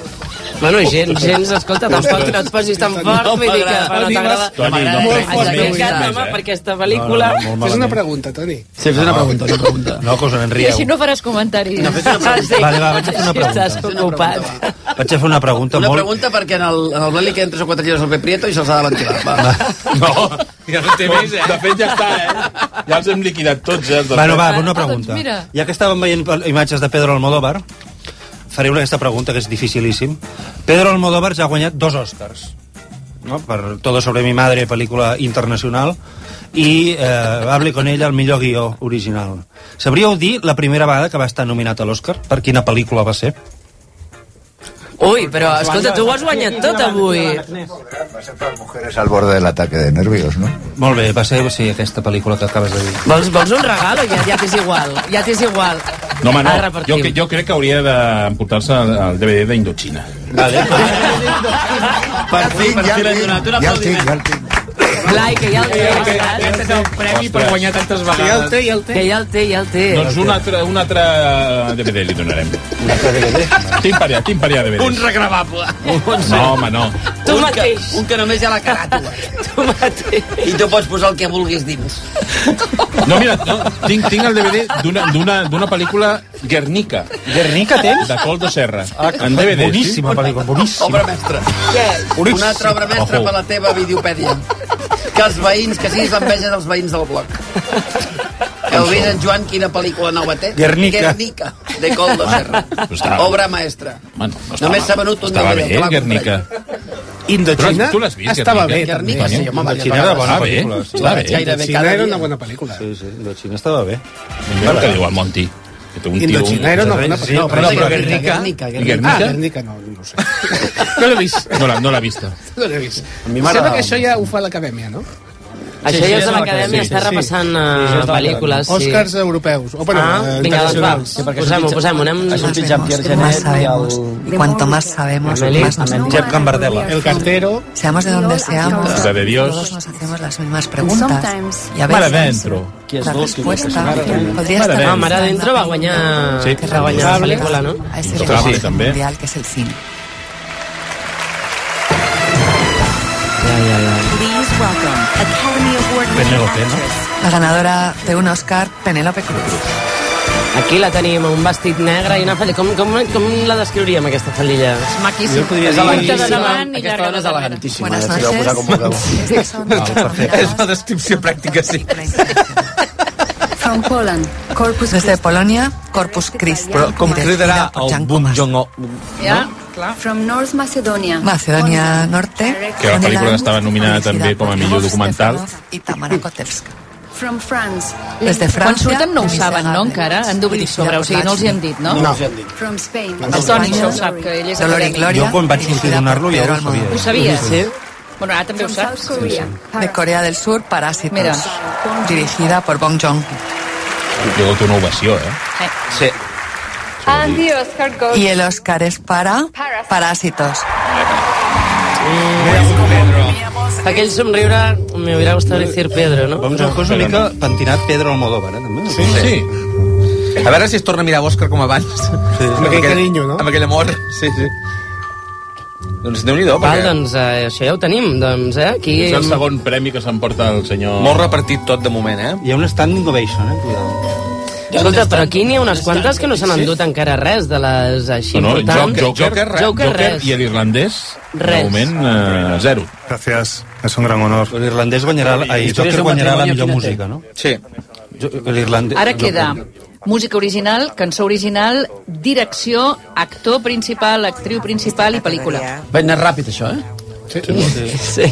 Speaker 2: Bueno, gens, gens, escolta,
Speaker 16: Doncs,
Speaker 2: tampoc
Speaker 16: eh,
Speaker 2: no et posis tan fort,
Speaker 17: No
Speaker 2: vull dir que
Speaker 17: m'agrada.
Speaker 2: no t'agrada.
Speaker 17: Toni, no
Speaker 2: M'agrada.
Speaker 17: treguis
Speaker 2: Ens
Speaker 17: més,
Speaker 2: hagués quedat,
Speaker 17: eh?
Speaker 2: home, per aquesta pel·lícula.
Speaker 16: No, no, molt
Speaker 3: Fes una
Speaker 16: malament.
Speaker 3: pregunta, Toni.
Speaker 18: Sí, fes una pregunta, una pregunta.
Speaker 16: No, que us en
Speaker 17: I així
Speaker 16: enrieu.
Speaker 17: no faràs comentaris. No,
Speaker 18: Ah,
Speaker 16: Vale, va, vaig a fer una pregunta.
Speaker 2: Estàs preocupat.
Speaker 16: Vaig a fer una pregunta
Speaker 18: Una
Speaker 16: molt...
Speaker 18: pregunta perquè en el, en el Beli que entres o quatre llibres al Pep Prieto i se'ls ha de ventilar. Va.
Speaker 4: Ja no té més, eh? De fet, ja està, eh? Ja els hem liquidat tots, eh? els del
Speaker 16: Bueno,
Speaker 4: Pep.
Speaker 16: va,
Speaker 2: Ah, doncs
Speaker 16: una pregunta.
Speaker 18: mira.
Speaker 16: ja que estàvem veient pel- imatges de Pedro Almodóvar, faré una aquesta pregunta que és dificilíssim. Pedro Almodóvar ja ha guanyat dos Oscars no? per Todo sobre mi madre, pel·lícula internacional, i eh, Hable con ella, el millor guió original. Sabríeu dir la primera vegada que va estar nominat a l'Oscar? Per quina pel·lícula va ser?
Speaker 2: Ui, però, escolta, tu ho has guanyat tot avui.
Speaker 21: Eres al borde del ataque de nervios, ¿no?
Speaker 16: Molt bé, va ser sí, aquesta pel·lícula que acabes de dir.
Speaker 2: Vols, vols un regal o ja, ja t'és igual? Ja t'és igual.
Speaker 4: No, home,
Speaker 2: Ara
Speaker 4: no.
Speaker 2: repartim.
Speaker 4: Jo, que- jo crec que hauria d'emportar-se el, el DVD d'Indochina. Vale.
Speaker 18: Per fi, per fi l'he donat. Un aplaudiment.
Speaker 2: Clar, i que ja el té.
Speaker 4: Aquest és el premi
Speaker 6: per guanyar tantes vegades.
Speaker 4: Ja el té, ja el té.
Speaker 2: Que ja el té, ja el té.
Speaker 4: Doncs un altre, un altre eh, DVD li donarem. Un altre DVD? Tinc per allà, tinc per allà DVDs.
Speaker 18: Un regravable.
Speaker 4: No, home, no.
Speaker 18: Tu un mateix. Que, un que només hi ha la caràtula. tu mateix. I tu pots posar el que vulguis dins.
Speaker 4: No, mira, no, tinc, tinc el DVD d'una- d'una d'una pel·lícula Guernica.
Speaker 16: Guernica tens?
Speaker 4: De Coldo Serra.
Speaker 16: Ah,
Speaker 4: en DVD.
Speaker 16: boníssima pel·lícula, boníssima.
Speaker 4: Obra
Speaker 18: mestra. Què?
Speaker 4: Boníssim.
Speaker 18: Una altra obra mestra
Speaker 4: Ojo.
Speaker 18: per la teva videopèdia. Que els veïns, que siguis l'enveja dels veïns del bloc. Heu vist en Joan quina pel·lícula nova té?
Speaker 4: Guernica.
Speaker 18: Guernica, de Coldo Serra.
Speaker 4: estava-
Speaker 18: Obra maestra.
Speaker 4: Bueno, no estava-
Speaker 18: Només s'ha venut un
Speaker 4: Estava
Speaker 18: DVD,
Speaker 4: bé,
Speaker 18: que l'ha
Speaker 4: Guernica.
Speaker 3: Indochina
Speaker 4: Tu l'has vist,
Speaker 3: estava
Speaker 4: Guernica?
Speaker 3: bé, també.
Speaker 4: Guernica, sí, home,
Speaker 3: Indochina
Speaker 4: Indochina era bona
Speaker 3: estava bé.
Speaker 4: pel·lícula.
Speaker 3: Sí,
Speaker 4: Estava
Speaker 3: la
Speaker 4: bé.
Speaker 3: veig gairebé Indochina cada era dia. una bona pel·lícula.
Speaker 16: Sí, sí, Indochina estava bé.
Speaker 4: Mira el que diu el Monti. Que té un tio...
Speaker 3: Indochina era una bona
Speaker 4: Sí,
Speaker 3: pel·lícula.
Speaker 4: però, però,
Speaker 3: Guernica.
Speaker 4: Guernica?
Speaker 3: Ah, Guernica no, no ho sé. No l'he vist.
Speaker 4: No l'ha no l'ha vista.
Speaker 3: No l'he vist.
Speaker 4: mi
Speaker 3: Em
Speaker 4: m'agrada
Speaker 3: sembla que això ja ho fa l'acadèmia, no?
Speaker 2: Això ja és de l'acadèmia, està repassant eh, pel·lícules. sí.
Speaker 3: Oscars europeus. O, bueno,
Speaker 2: Ah,
Speaker 3: eh,
Speaker 2: vinga, doncs va,
Speaker 3: internacionals.
Speaker 2: posem-ho, posem-ho, anem... eh.
Speaker 22: Y cuanto más sabemos,
Speaker 2: Amelie,
Speaker 22: más nos
Speaker 2: Amelie.
Speaker 22: gusta.
Speaker 2: Jeff Gambardella. El cartero.
Speaker 22: Seamos de donde seamos.
Speaker 4: La de Dios.
Speaker 22: Todos nos hacemos las mismas preguntas. Y a
Speaker 4: Mar
Speaker 22: veces
Speaker 4: adentro.
Speaker 22: la respuesta podría
Speaker 2: Mare
Speaker 22: estar
Speaker 2: adentro. Mare adentro va guanyar...
Speaker 4: Sí.
Speaker 2: Que va guanyar la pel·lícula, no?
Speaker 22: a ese
Speaker 4: Ostras,
Speaker 22: deporte
Speaker 4: sí, també.
Speaker 22: mundial que es el cine.
Speaker 23: Please welcome Academy Award
Speaker 4: Penélope, no?
Speaker 22: La ganadora de un Oscar, Penélope Cruz.
Speaker 2: Aquí la tenim, un vestit negre i una faldilla. Com, com, com la descriuríem, aquesta faldilla? És
Speaker 17: maquíssima. Jo podria dir- Curta de davant i llarga de darrere.
Speaker 2: Buenas
Speaker 24: Si vau posar com
Speaker 6: És la descripció pràctica, sí.
Speaker 22: From Poland, Corpus Desde Polonia, Corpus Christi.
Speaker 6: Però com cridarà el Bum Jong-ho?
Speaker 22: Ja,
Speaker 11: From North Macedonia.
Speaker 22: Macedonia Norte.
Speaker 4: Que la pel·lícula
Speaker 22: General
Speaker 4: estava nominada també com a millor documental.
Speaker 22: Y Tamara Kotevska.
Speaker 11: From France.
Speaker 22: Desde
Speaker 17: Quan
Speaker 22: Francia,
Speaker 17: surten no ho saben, no, encara? Han d'obrir sobre, o sigui, pues, no els hi hem dit, no?
Speaker 22: No.
Speaker 11: From Spain.
Speaker 17: El Toni això ho sap, que ell és
Speaker 22: Dolor i Glòria.
Speaker 16: Jo quan vaig sortir donar-lo ja ho sabia.
Speaker 17: Ho sabies? Sí. Bueno, ara també ho saps.
Speaker 22: de Corea del Sur, Parásitos.
Speaker 17: Mira.
Speaker 22: Dirigida por Bong Joon.
Speaker 4: Hi ha hagut tota una ovació, eh? Sí.
Speaker 22: And the Oscar goes y el Oscar es para Parásitos.
Speaker 2: Aquell somriure me hubiera gustado decir Pedro, no?
Speaker 16: Bong Joon-ho és una mica pentinat Pedro Almodóvar, eh, també. Sí, sí.
Speaker 6: A veure si es torna a mirar Òscar com abans. Sí. Amb
Speaker 16: aquell carinyo,
Speaker 6: no? Amb aquell amor, sí, sí. Doncs déu-n'hi-do,
Speaker 2: Val,
Speaker 6: perquè...
Speaker 2: doncs eh, això ja ho tenim, doncs, eh? Aquí...
Speaker 4: És el segon premi que s'emporta el senyor...
Speaker 6: Molt repartit tot de moment, eh?
Speaker 16: Hi ha un standing ovation, eh? Cuidado.
Speaker 2: Escolta, però aquí n'hi ha unes quantes que no s'han endut encara res de les així
Speaker 4: No, no,
Speaker 2: importants.
Speaker 4: Joker, Joker, Joker,
Speaker 2: Joker, res.
Speaker 4: i l'irlandès, de
Speaker 2: Res.
Speaker 4: moment, eh, zero.
Speaker 1: Gràcies, és un gran honor.
Speaker 16: L'irlandès guanyarà, ai, Joker guanyarà la millor música, no?
Speaker 6: Sí.
Speaker 16: L'irlandès...
Speaker 17: Ara queda música original, cançó original, direcció, actor principal, actriu principal i pel·lícula.
Speaker 6: Vaig anar ràpid, això, eh?
Speaker 4: Sí. sí.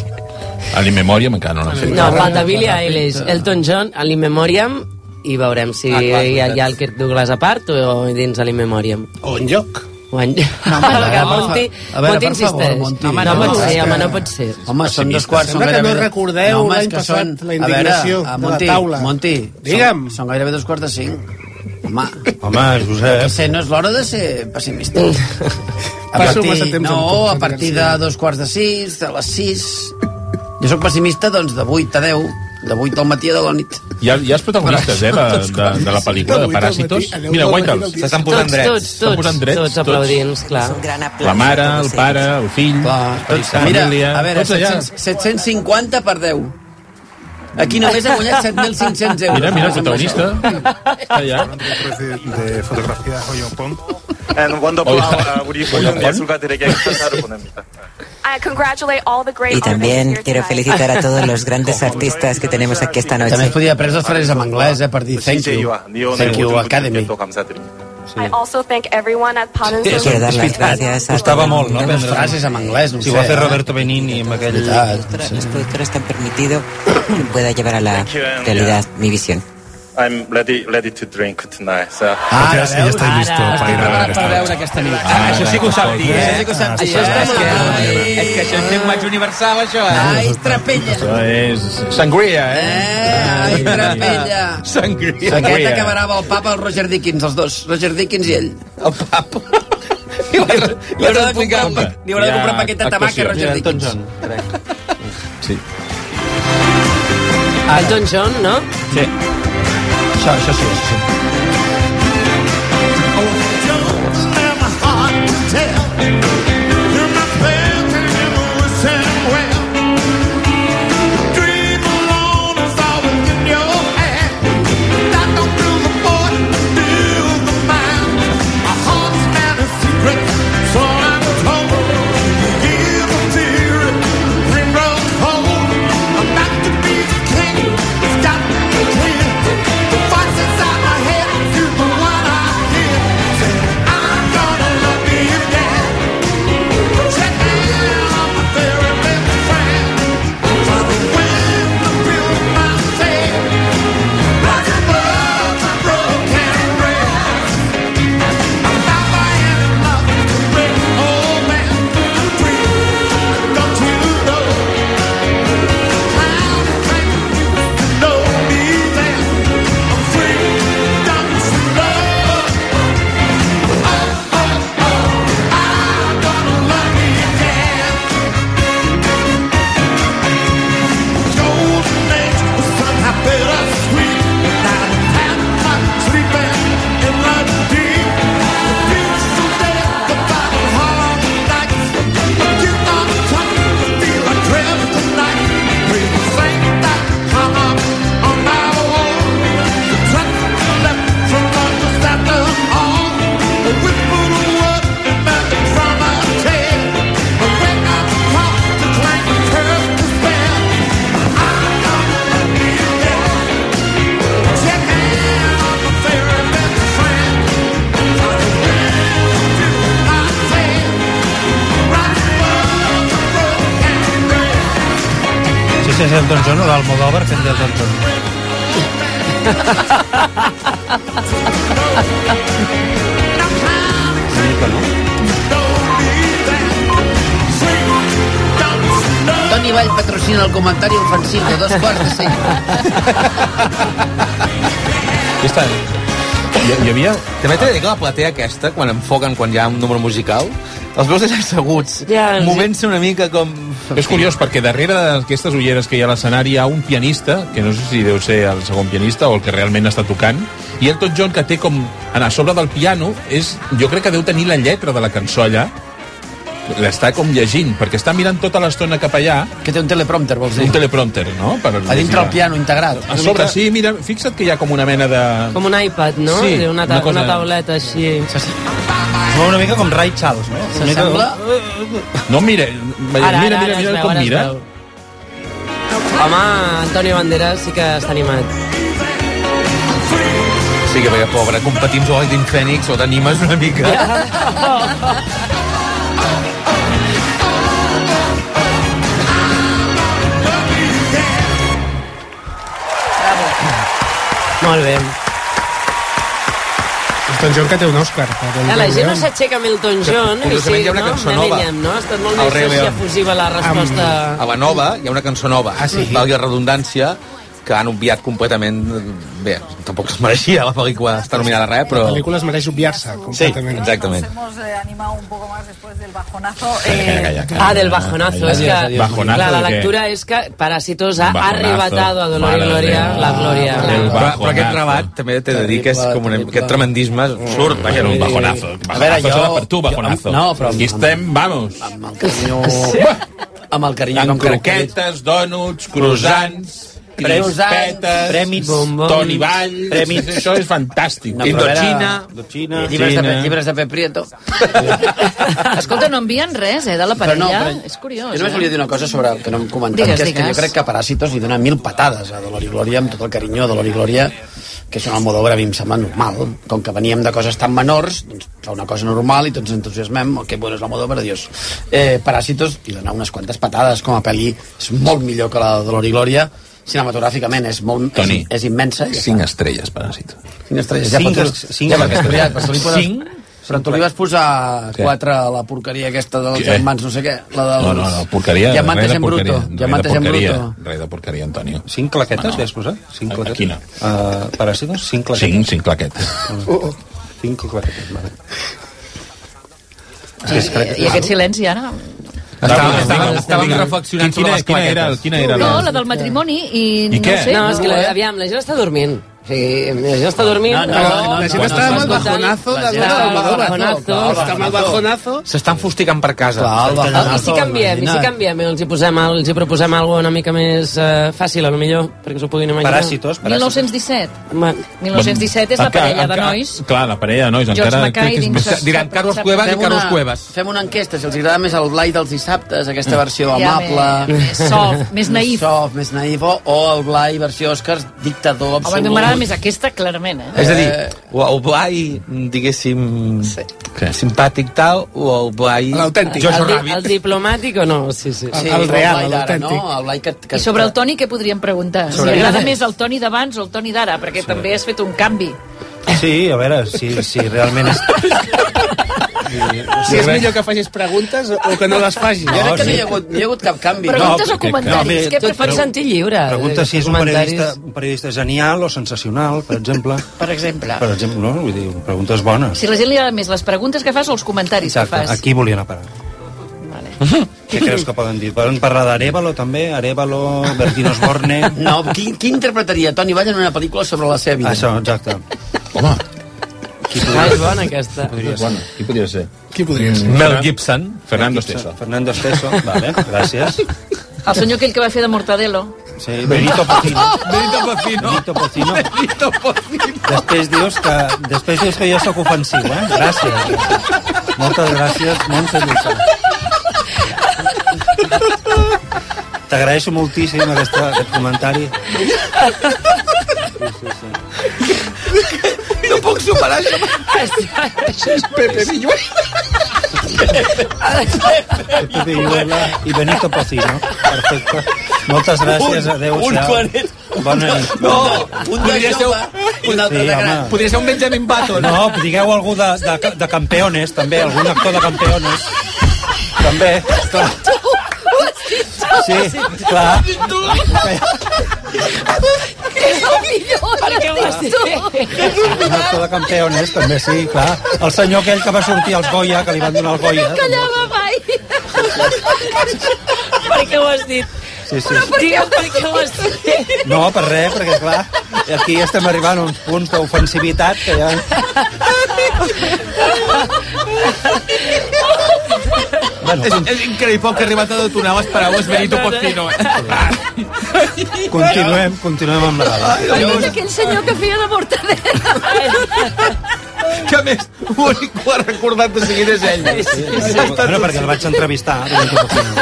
Speaker 4: A l'Immemòria encara no l'han fet.
Speaker 2: No, falta Billie Eilish, Elton John, a l'Immemoriam, i veurem si
Speaker 4: Ah, clar,
Speaker 2: hi, ha,
Speaker 4: veritat.
Speaker 2: hi ha el Kirk Douglas a part o dins a l'Immemoriam.
Speaker 3: O en lloc.
Speaker 2: O en... No,
Speaker 3: home, no,
Speaker 2: que
Speaker 3: home,
Speaker 2: Monti,
Speaker 3: a veure, per
Speaker 2: Monti
Speaker 3: favor,
Speaker 2: insisteix.
Speaker 3: Monti.
Speaker 2: No, home,
Speaker 3: No,
Speaker 2: no,
Speaker 3: és
Speaker 2: pot ser,
Speaker 3: que-
Speaker 2: home, no pot ser.
Speaker 3: Home, són dos quarts, Sembla són que no gairebé- recordeu
Speaker 18: home,
Speaker 3: l'any
Speaker 18: és que
Speaker 3: passat són- la indignació
Speaker 18: a
Speaker 3: de la
Speaker 18: veure, a Monti,
Speaker 3: taula.
Speaker 18: Monti,
Speaker 3: Digue'm.
Speaker 18: Són, són gairebé dos quarts de cinc. Home,
Speaker 16: Home,
Speaker 4: Ah,
Speaker 16: Josep...
Speaker 18: que sé, no és l'hora de ser pessimista. A
Speaker 3: Passo
Speaker 18: partir,
Speaker 3: massa temps
Speaker 18: no,
Speaker 3: amb tu,
Speaker 18: a partir de dos quarts de sis, de les sis... Jo sóc pessimista, doncs, de 8 a 10, de 8 al matí a de la nit.
Speaker 4: Hi ha, hi ha els protagonistes, eh, de, de, de la pel·lícula, de Paràsitos. Mira, guaita'ls.
Speaker 6: S'estan posant drets.
Speaker 2: Tots, tots,
Speaker 4: posant
Speaker 2: tots,
Speaker 4: drets,
Speaker 2: tots
Speaker 4: tots.
Speaker 2: aplaudint, clar.
Speaker 4: La mare, el pare, el fill, tots, la
Speaker 18: Mira,
Speaker 4: família...
Speaker 18: a veure,
Speaker 4: tots allà.
Speaker 18: 700, 750 per 10. Aquí només ha guanyat 7.500 euros.
Speaker 4: Mira, mira, el
Speaker 18: Només amb això.
Speaker 4: protagonista.
Speaker 1: de fotografía de Hoyo Pong.
Speaker 12: And wonderful hour. 우리 모든 어, 예. 예술가들에게 감사를 보냅니다.
Speaker 5: Y también quiero felicitar a todos los grandes artistas que tenemos aquí esta
Speaker 18: També es
Speaker 5: noche.
Speaker 18: podia aprendre les frases en anglès, eh, per dir thank you. Thank you, Academy.
Speaker 5: Quiero dar las gracias a
Speaker 16: Costava molt, no?
Speaker 18: Aprendre frases en anglès, no
Speaker 16: Si
Speaker 18: ho
Speaker 16: ho va
Speaker 18: sé,
Speaker 16: fer
Speaker 18: eh?
Speaker 16: Roberto Benigni amb aquell...
Speaker 5: Los productores te han permitido que pueda llevar a la realidad mi visión.
Speaker 12: I'm ready, ready to drink tonight. So.
Speaker 5: Ara,
Speaker 12: ja estic
Speaker 5: listo para ir a ver esta noche.
Speaker 6: aquesta nit.
Speaker 12: 아, 네.
Speaker 6: això sí que ho sap dir, eh? Això sí que ho sap dir. Això és que, és que això és llenguatge universal, això, eh? Ai,
Speaker 18: trapella.
Speaker 4: Això és sangria, eh?
Speaker 18: Ai, trapella.
Speaker 6: Sangria.
Speaker 18: Aquest acabarà amb el papa, el Roger Dickens, els dos. Roger Dickens i ell.
Speaker 6: El papa. Li haurà de
Speaker 18: comprar, un pa- li haurà de comprar un paquet de tabac a Roger Dickens.
Speaker 4: Sí.
Speaker 2: Elton John, no?
Speaker 16: Sí. Això, això sí, això sí.
Speaker 15: Got to be clean. It's got to be clean. The voice inside my head.
Speaker 16: si és Elton John o l'Almodóvar fent d'Elton John.
Speaker 18: Toni Vall patrocina el comentari ofensiu de dos quarts de
Speaker 6: Aquí està. Hi, hi havia... També t'he de dir que la platea aquesta, quan enfoquen, quan hi ha un número musical, els veus allà asseguts,
Speaker 4: Ja,
Speaker 6: ja,
Speaker 4: sí.
Speaker 6: movent-se una mica com...
Speaker 4: És curiós, perquè darrere d'aquestes ulleres que hi ha a l'escenari hi ha un pianista, que no sé si deu ser el segon pianista o el que realment està tocant, i el Tot John que té com en a sobre del piano, és, jo crec que deu tenir la lletra de la cançó allà, l'està com llegint, perquè està mirant tota l'estona cap allà...
Speaker 18: Que té un teleprompter, vols dir?
Speaker 4: Un teleprompter, no? Per
Speaker 18: A dintre el piano integrat.
Speaker 4: A sobre, sí, mira, fixa't que hi ha com una mena de...
Speaker 2: Com un iPad, no?
Speaker 4: Sí,
Speaker 2: Té una,
Speaker 4: una
Speaker 2: ta una,
Speaker 4: cosa-
Speaker 2: una tauleta així.
Speaker 16: Sembla una mica com Ray Charles, no? Una mica-
Speaker 2: S'assembla...
Speaker 4: No, mira, mira,
Speaker 2: Ara, ara,
Speaker 4: mira,
Speaker 2: ara
Speaker 4: mira,
Speaker 2: es
Speaker 4: mira
Speaker 2: veu,
Speaker 4: com
Speaker 2: ara es
Speaker 4: mira.
Speaker 2: veu. Home, Antonio Banderas sí que està animat.
Speaker 6: Sí, que veia, pobre, competim o Lightning Phoenix o t'animes una mica. Ja.
Speaker 2: Molt bé.
Speaker 3: Elton John que té un Òscar. per eh?
Speaker 2: Ja, Ah, Eh, la gent no
Speaker 3: Elton John.
Speaker 2: s'aixeca amb Elton
Speaker 3: Que
Speaker 2: John i sí,
Speaker 6: curiosament hi ha una
Speaker 2: no?
Speaker 6: cançó
Speaker 2: Anem
Speaker 6: nova.
Speaker 2: i anem, no? Ha estat molt
Speaker 6: El
Speaker 2: més
Speaker 6: Rei
Speaker 2: així
Speaker 6: León.
Speaker 2: efusiva la resposta.
Speaker 6: A la nova hi ha una cançó nova, ah, sí? valgui la redundància, que han obviat completament... Bé, tampoc es mereixia la pel·lícula estar nominada a res, però...
Speaker 3: La pel·lícula es mereix obviar-se,
Speaker 6: Sí,
Speaker 3: completament.
Speaker 6: exactament.
Speaker 2: Ah, del bajonazo.
Speaker 3: Adiós,
Speaker 2: és que,
Speaker 3: adiós. Bajonazo
Speaker 2: clar, la
Speaker 3: de què?
Speaker 2: lectura és que Parásitos ha
Speaker 6: Bajonazo.
Speaker 2: arrebatado a Dolor
Speaker 6: Mare
Speaker 2: y
Speaker 6: de
Speaker 2: Gloria
Speaker 6: Déu.
Speaker 2: la gloria.
Speaker 6: Però, però aquest rebat també t'he de dir que és com una, aquest tremendisme surt, vaja, un bajonazo.
Speaker 4: Mm. A veure, jo... Per tu, bajonazo.
Speaker 6: no, però-
Speaker 4: Aquí estem, vamos.
Speaker 18: Amb el carinyo... Amb el carinyo
Speaker 4: Amb
Speaker 18: que em caracteritza.
Speaker 4: croquetes, dònuts, croissants,
Speaker 18: Premis,
Speaker 4: crispetes,
Speaker 18: premis, bombons,
Speaker 4: Toni Vall...
Speaker 18: premis.
Speaker 4: Això és fantàstic.
Speaker 18: No, però a veure,
Speaker 4: Indochina.
Speaker 18: Llibres de, Pe- llibres de Pep Prieto.
Speaker 17: Escolta, no envien res, eh, de la
Speaker 18: Però no,
Speaker 17: parella.
Speaker 18: però-
Speaker 17: És curiós, eh?
Speaker 18: Jo només volia dir una cosa sobre el que no hem comentat,
Speaker 17: Digues,
Speaker 18: que és que
Speaker 17: digues.
Speaker 18: jo crec que Paràsitos li dona mil patades a Dolor i Glòria, amb tot el carinyo a Dolor i Glòria, que això en el Modóvar a mi em sembla normal. Com que veníem de coses tan menors, doncs fa una cosa normal i tots ens entusiasmem, el que bueno és la Modóvar, adiós. Eh, Paràsitos li dona unes quantes patades com a pel·li, és molt millor que la de Dolor i Glòria, cinematogràficament és molt
Speaker 6: Toni,
Speaker 18: és, és immensa. i ja
Speaker 6: Cinc estrelles, Paràsito.
Speaker 18: Quines estrelles? Ja
Speaker 6: Cinc
Speaker 18: pots-
Speaker 6: est- cinc
Speaker 18: ja pots
Speaker 6: estrelles.
Speaker 18: triar, però tu li poses-
Speaker 6: Cinc?
Speaker 18: Però tu li vas posar
Speaker 4: Què?
Speaker 18: 4 a la porqueria aquesta dels
Speaker 4: Què?
Speaker 18: germans, no sé què. La dels...
Speaker 4: No, no, no, porqueria.
Speaker 18: Diamantes
Speaker 4: res de
Speaker 18: en
Speaker 4: porqueria,
Speaker 18: bruto.
Speaker 4: res de
Speaker 18: Diamantes en
Speaker 4: porqueria,
Speaker 18: bruto.
Speaker 4: Res de porqueria, Antonio.
Speaker 16: Cinc claquetes,
Speaker 4: Ah, no.
Speaker 16: has posat? Cinc claquetes?
Speaker 4: Quina?
Speaker 16: Uh, paràsitos? Cinc claquetes?
Speaker 4: Cinc, cinc claquetes.
Speaker 3: Oh,
Speaker 16: Cinc claquetes, vale.
Speaker 17: I, I aquest silenci, ara...
Speaker 6: Estàvem, estàvem, estàvem reflexionant
Speaker 4: Quina-
Speaker 6: sobre les
Speaker 4: quina
Speaker 6: claquetes.
Speaker 4: era el- quina era
Speaker 17: No, la del matrimoni i,
Speaker 6: I
Speaker 17: no ¿eh?
Speaker 6: què?
Speaker 17: sé.
Speaker 2: No, és que, la, aviam, la gent està dormint. O sigui, la gent està dormint,
Speaker 18: No, no,
Speaker 2: però...
Speaker 18: no, no,
Speaker 2: la
Speaker 18: no,
Speaker 2: gent està
Speaker 18: no,
Speaker 2: amb el
Speaker 18: no,
Speaker 2: bajonazo
Speaker 18: no, no,
Speaker 2: de
Speaker 18: no,
Speaker 2: Almodóvar.
Speaker 18: no, no,
Speaker 2: Bajonazo,
Speaker 18: no,
Speaker 2: està amb el bajonazo.
Speaker 6: S'estan fustigant per casa.
Speaker 18: Clar, el
Speaker 2: I si
Speaker 18: bajonazo,
Speaker 2: canviem, i si
Speaker 18: imagina't.
Speaker 2: canviem, i els hi, posem, al- els hi proposem alguna una mica més eh, fàcil, a lo millor, perquè us ho puguin imaginar.
Speaker 16: Paràsitos,
Speaker 17: 1917.
Speaker 2: Ma-
Speaker 17: 1917 és la
Speaker 4: Encara-
Speaker 17: parella de
Speaker 4: encara-
Speaker 17: nois.
Speaker 4: Clar, la parella de nois.
Speaker 17: George
Speaker 4: encara Doncs
Speaker 17: Mackay
Speaker 4: crec que és
Speaker 17: dins
Speaker 4: més-
Speaker 17: de- Diran Carlos Cuevas i Carlos
Speaker 4: Cuevas.
Speaker 18: Fem una enquesta, si els agrada més el Blai dels dissabtes, aquesta versió
Speaker 17: Ja,
Speaker 18: amable...
Speaker 17: més- més soft, més naïf.
Speaker 18: Soft, més naïf, o, o el Blai versió Oscars dictador
Speaker 17: Home, a
Speaker 18: absolut.
Speaker 17: mi m'agrada més aquesta, clarament, eh?
Speaker 6: És a dir, o el Blai, diguéssim, simpàtic tal, o el Blai...
Speaker 18: L'autèntic.
Speaker 6: Jojo
Speaker 2: el, di-
Speaker 6: Rabbit.
Speaker 2: el diplomàtic o no? Sí, sí.
Speaker 18: Sí, El- el real, el Blai d'ara, l'autèntic. no? El Blai que-
Speaker 17: I sobre el Toni, què podríem preguntar? Si
Speaker 18: Sobre-
Speaker 17: agrada més el Toni d'abans o el Toni d'ara? Perquè també has fet un canvi.
Speaker 16: Sí, a veure, si, si realment... És...
Speaker 3: Si és millor que facis preguntes o que no les facis.
Speaker 18: Jo crec que no hi ha hagut, no hi ha hagut cap canvi.
Speaker 16: Preguntes o comentaris? No, bé, Què
Speaker 18: tu et
Speaker 16: preferis?
Speaker 18: pots sentir lliure.
Speaker 16: Pregunta si és un
Speaker 18: Comentaris.
Speaker 16: periodista, un periodista genial o sensacional, per exemple.
Speaker 17: Per exemple.
Speaker 16: Per exemple, no? Vull dir, preguntes bones.
Speaker 17: Si la gent li agrada més les preguntes que fas o els comentaris que fas.
Speaker 16: aquí volia anar a parar. Vale. Què creus que poden dir? Poden parlar d'Arevalo, també? Arevalo, Bertino Osborne...
Speaker 18: No, qui, qui interpretaria Toni Vall en una pel·lícula sobre la seva vida?
Speaker 16: Això, exacte.
Speaker 2: Ah, és bona aquesta.
Speaker 16: Podria ser.
Speaker 4: Bueno, qui podria ser?
Speaker 3: Qui podria ser?
Speaker 4: Mel Gibson. Fernando
Speaker 16: Esteso. Fernando Esteso, vale, gràcies.
Speaker 17: El senyor aquell que va fer de Mortadelo.
Speaker 16: Sí, Benito Pacino.
Speaker 17: Benito
Speaker 16: Pacino. Benito Pacino. Després dius que, després dius que jo sóc ofensiu, eh? Gràcies. Moltes gràcies, Montse Lluçà. T'agraeixo moltíssim aquesta, aquest comentari.
Speaker 6: No puc superar això.
Speaker 18: això és Pepe Villués.
Speaker 16: Pepe Villela i Benito Pocino. Perfecte. Moltes gràcies,
Speaker 15: Un-
Speaker 16: adeu,
Speaker 15: un
Speaker 16: siau.
Speaker 15: quaranta-
Speaker 16: Bona nit.
Speaker 15: No, un de
Speaker 16: Podria
Speaker 15: jove i un altre de
Speaker 16: home.
Speaker 15: gran. Podria ser un Benjamin Button.
Speaker 16: No, digueu algú de, de, de Campeones, també, algun actor de Campeones. També. Sí, clar.
Speaker 15: Que és el millor, per què ho has dit tu?
Speaker 16: Un actor de Campeones, també, sí, clar. El senyor aquell que va sortir als Goya, que li van donar el Goya.
Speaker 15: Callava mai. per què ho has dit?
Speaker 16: Sí, sí,
Speaker 15: Però
Speaker 16: sí.
Speaker 15: per què, per què ho has dit?
Speaker 16: No, per res, perquè, clar, aquí estem arribant a uns punts d'ofensivitat que ja... Bueno,
Speaker 15: és,
Speaker 16: és increïble que ha arribat a detonar les
Speaker 15: paraules Benito eh. Pocino.
Speaker 6: eh?
Speaker 16: Continuem, continuem amb la gala.
Speaker 17: Llavors... Aquell senyor que feia de mortadera.
Speaker 15: Que a més, l'únic que ho ha recordat de seguida és ell.
Speaker 16: Bueno, perquè el vaig entrevistar, Benito Pocino,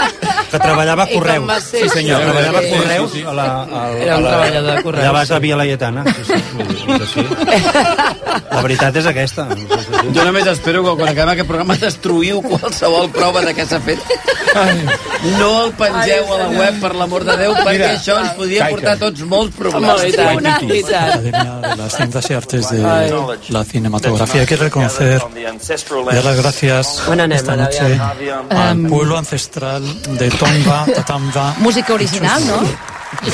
Speaker 16: que treballava a
Speaker 15: I com
Speaker 16: Correu.
Speaker 15: va ser?
Speaker 16: Sí, senyor,
Speaker 15: Sí,
Speaker 16: treballava a
Speaker 15: sí,
Speaker 16: Correus.
Speaker 15: sí, sí.
Speaker 16: A la, a, la-
Speaker 15: Era un
Speaker 16: a la-
Speaker 15: treballador de Correus,
Speaker 16: Allà vas a
Speaker 15: sí.
Speaker 16: Via Laietana. Sí, sí, és així. La veritat és aquesta.
Speaker 18: Jo només espero que quan acabem aquest programa destruïu qualsevol prova de què s'ha fet. No el pengeu a la web, per l'amor de Déu, perquè
Speaker 25: Mira,
Speaker 18: això ens podria
Speaker 25: Taika.
Speaker 18: portar a tots molts problemes.
Speaker 25: Academia de las Ciencias y Artes de la Cinematografía. Hay que reconocer, dar las gracias esta noche al pueblo ancestral de Tonga, Tatamba.
Speaker 17: Música original, no?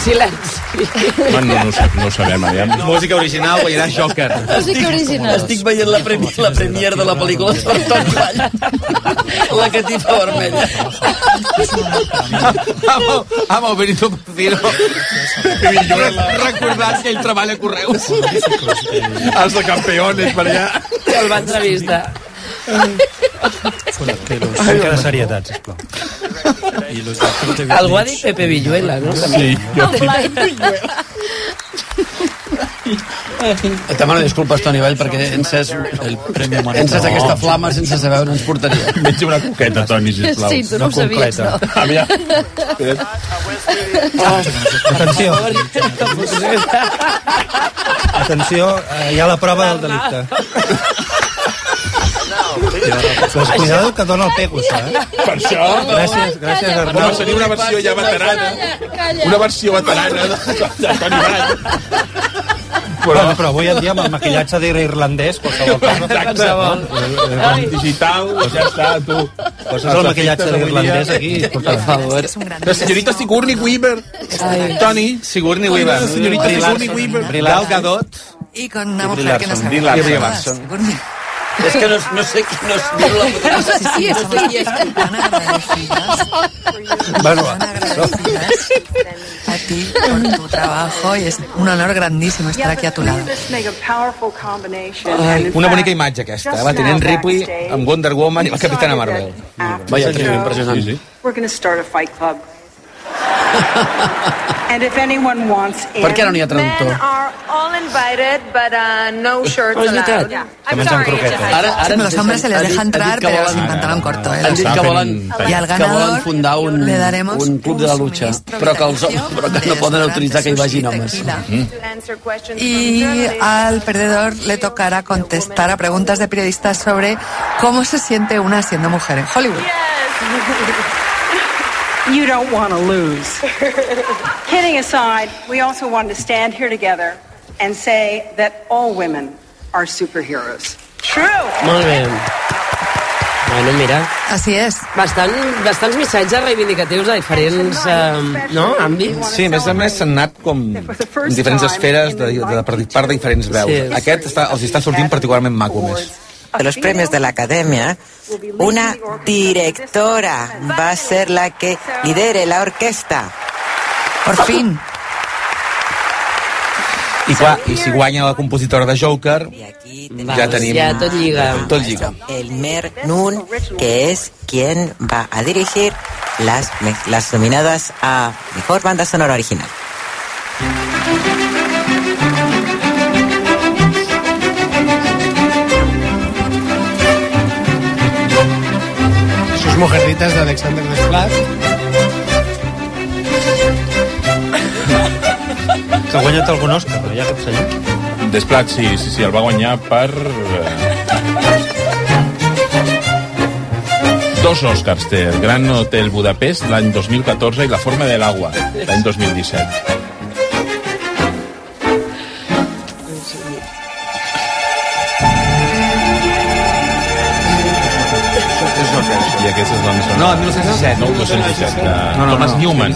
Speaker 2: Silenci.
Speaker 4: Bueno, no, ho sa- no ho sabem, aviam.
Speaker 6: Música original, guanyarà Joker.
Speaker 17: Música original.
Speaker 18: Estic veient la, premi la premiere de la pel·lícula per tot ball. La catifa vermella.
Speaker 15: amb, el, amb el Benito Pocino recordant que ell treballa a Correus els de campeones per allà el va entrevistar
Speaker 16: Una mica de serietat, sisplau.
Speaker 2: Algú ha dit Pepe Villuela, no?
Speaker 16: Sí, jo-
Speaker 18: Et demano disculpes, Toni Vall, perquè he encès, el premi he encès aquesta flama sense saber on ens portaria.
Speaker 4: Menja una coqueta, Toni, sisplau.
Speaker 17: Sí, tu no ho sabies, no?
Speaker 18: Ah,
Speaker 4: Aviam.
Speaker 16: Atenció. Atenció, eh, hi ha la prova del delicte. Pues cuidado que dona el pego, això, eh?
Speaker 4: Per això...
Speaker 16: Gràcies, gràcies, Arnau.
Speaker 4: Home, seria una versió ja veterana. Una versió veterana de de Toni Vall.
Speaker 16: Però, bueno, però avui en dia amb el maquillatge d'irlandès, qualsevol cosa.
Speaker 4: Exacte.
Speaker 16: Qualsevol.
Speaker 4: Digital, doncs ja està, tu.
Speaker 16: Poses el maquillatge d'irlandès aquí.
Speaker 4: Per favor. La senyorita Sigourney Weaver. Toni.
Speaker 6: Sigourney
Speaker 4: Weaver.
Speaker 6: Weaver.
Speaker 4: Senyorita
Speaker 6: Brie
Speaker 4: Sigourney
Speaker 6: Larson.
Speaker 4: Weaver.
Speaker 6: Brie Larson. Gal Gadot.
Speaker 22: Y con una
Speaker 6: Y Brie
Speaker 22: mujer que no
Speaker 6: Larson,
Speaker 22: sabe.
Speaker 6: Brie Larson.
Speaker 22: nada,
Speaker 6: Y Brie Larson.
Speaker 22: Sigourney.
Speaker 18: És que no, no sé qui no es diu la
Speaker 22: No sé si es lesbiana,
Speaker 16: Bueno,
Speaker 22: a ti por tu trabajo y es un honor grandísimo estar aquí a tu lado.
Speaker 6: Ai, Una bonica imatge aquesta, eh? la tenent Ripley amb Wonder Woman i la Capitana Marvel.
Speaker 18: Vaya trio, impressionant.
Speaker 6: Sí,
Speaker 19: We're going to start a fight club. and if anyone wants in,
Speaker 18: Per què no n'hi ha traductor?
Speaker 19: men are all invited, but uh, no shirts
Speaker 18: Oh, és veritat.
Speaker 19: allowed. Yeah.
Speaker 18: Que mengen croquetes. Ara- ara
Speaker 22: Sí,
Speaker 18: ens
Speaker 22: los hombres
Speaker 18: deixen-
Speaker 22: se les
Speaker 18: ha dit-
Speaker 22: deja
Speaker 18: ha dit
Speaker 22: entrar,
Speaker 18: que
Speaker 22: pero
Speaker 18: volen-
Speaker 22: sin pantalón corto. ¿eh?
Speaker 18: Han dit que volen,
Speaker 22: Y al
Speaker 18: que volen
Speaker 22: ganador
Speaker 18: fundar un,
Speaker 22: le daremos
Speaker 18: un club de la lucha, però que, els, hom- però que no poden autoritzar que hi vagin homes. Mm.
Speaker 22: Y al perdedor le tocará contestar a preguntas de periodistas sobre cómo se siente una siendo mujer en Hollywood.
Speaker 19: You don't want to lose. Kidding aside, we also wanted to stand here together and say that all women are superheroes. True.
Speaker 2: Molt bé. Bueno, mira.
Speaker 22: Així és.
Speaker 2: Bastant, bastants missatges reivindicatius a diferents eh, no, àmbits.
Speaker 6: Sí, a més a més s'han anat com en diferents esferes de, de, de, de part de diferents veus.
Speaker 22: Sí.
Speaker 6: Aquest està, els està sortint particularment maco, a més.
Speaker 22: De los premios de la Academia,
Speaker 19: una
Speaker 22: directora va a ser la que lidere la orquesta. Por fin.
Speaker 6: I clar, i si guanya la compositora de Joker, ja tenim...
Speaker 22: ja tot lliga.
Speaker 6: Tot lliga.
Speaker 22: Elmer Nun, que es quien va a dirigir las, las nominadas a Mejor Banda Sonora Original.
Speaker 3: Sus mujercitas de Alexander Desplat.
Speaker 16: Que ha guanyat algun Òscar, no hi ha cap senyor.
Speaker 4: Desplat, sí, sí, sí, el va guanyar per... eh, Dos Oscars té el Gran Hotel Budapest l'any 2014 i La forma de l'agua l'any 2017. I aquesta és la més
Speaker 6: No, el 1917.
Speaker 4: No, el 1917. De
Speaker 6: No, no,
Speaker 4: Thomas
Speaker 6: no.
Speaker 4: Newman.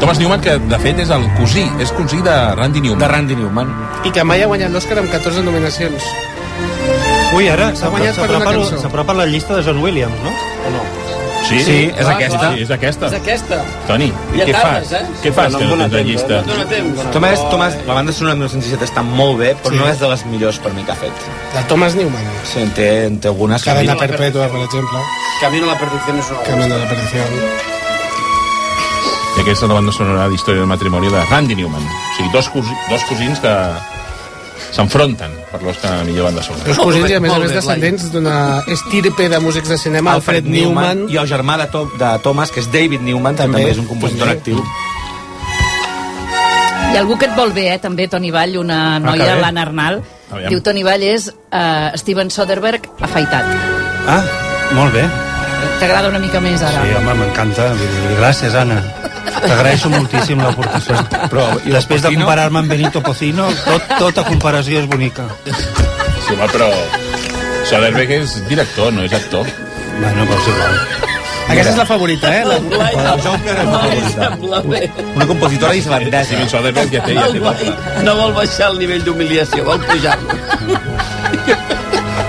Speaker 4: Thomas Newman, que de fet és el cosí, és cosí de Randy Newman. De
Speaker 6: Randy Newman.
Speaker 3: I que mai ha guanyat l'Oscar amb 14 nominacions.
Speaker 16: Ui, ara
Speaker 3: Ha guanyat per una
Speaker 16: s'apropa
Speaker 3: cançó.
Speaker 16: s'apropa la llista de John Williams, no? O no?
Speaker 4: Sí,
Speaker 16: és
Speaker 4: clar,
Speaker 16: aquesta.
Speaker 4: clar, Sí, és aquesta.
Speaker 16: És
Speaker 26: aquesta.
Speaker 4: Toni,
Speaker 16: Ja
Speaker 4: què
Speaker 16: tardes,
Speaker 4: fas?
Speaker 16: eh?
Speaker 4: Què fas
Speaker 16: No,
Speaker 4: que
Speaker 16: no
Speaker 4: no
Speaker 16: dona
Speaker 4: tens la
Speaker 16: temps,
Speaker 4: llista?
Speaker 16: no dona temps.
Speaker 6: Tomàs, Tomàs, la banda sonora de 1917 està molt bé, però no és de les millors per mi que ha fet.
Speaker 3: De Thomas Newman.
Speaker 6: Sí, en té, en té algunes... que
Speaker 3: Cadena
Speaker 6: mira-
Speaker 3: Perpetua, per exemple.
Speaker 26: Camino a la perfección es una
Speaker 3: Camino a la perfección.
Speaker 4: I aquesta és la banda sonora d'Història del matrimoni de Randy Newman. O sigui, dos, cosi, dos cosins que s'enfronten per l'Oscar a millor banda sonora.
Speaker 3: Dos cosins i a més a
Speaker 4: Molt
Speaker 3: més
Speaker 4: bé, Blai.
Speaker 3: descendents d'una estirpe de músics de cinema, Alfred, Newman.
Speaker 6: i el germà de, Tom, de Thomas, que és David Newman, també, també és un compositor actiu.
Speaker 17: Hi ha algú que et vol bé, eh? també, Toni Vall,
Speaker 4: Ah,
Speaker 17: una
Speaker 6: que
Speaker 17: noia,
Speaker 6: bé.
Speaker 17: l'Anna Arnal.
Speaker 16: Aviam.
Speaker 17: Diu, Toni Vall és eh, Steven Soderbergh afaitat.
Speaker 16: Ah, molt bé.
Speaker 17: T'agrada una mica més, ara.
Speaker 16: Sí, home, m'encanta. Vull dir, Gràcies, Anna. T'agraeixo moltíssim l'aportació. Però i després de comparar-me amb Benito Pocino, tot, tota comparació és bonica.
Speaker 4: Sí, home, però... Soderbergh és director, no és actor.
Speaker 16: Bueno, però és igual.
Speaker 3: Aquesta és la favorita, eh? La...
Speaker 6: Una compositora islandesa.
Speaker 4: Steven Soderbergh ja té, ja té.
Speaker 26: No vol baixar el nivell d'humiliació, vol pujar.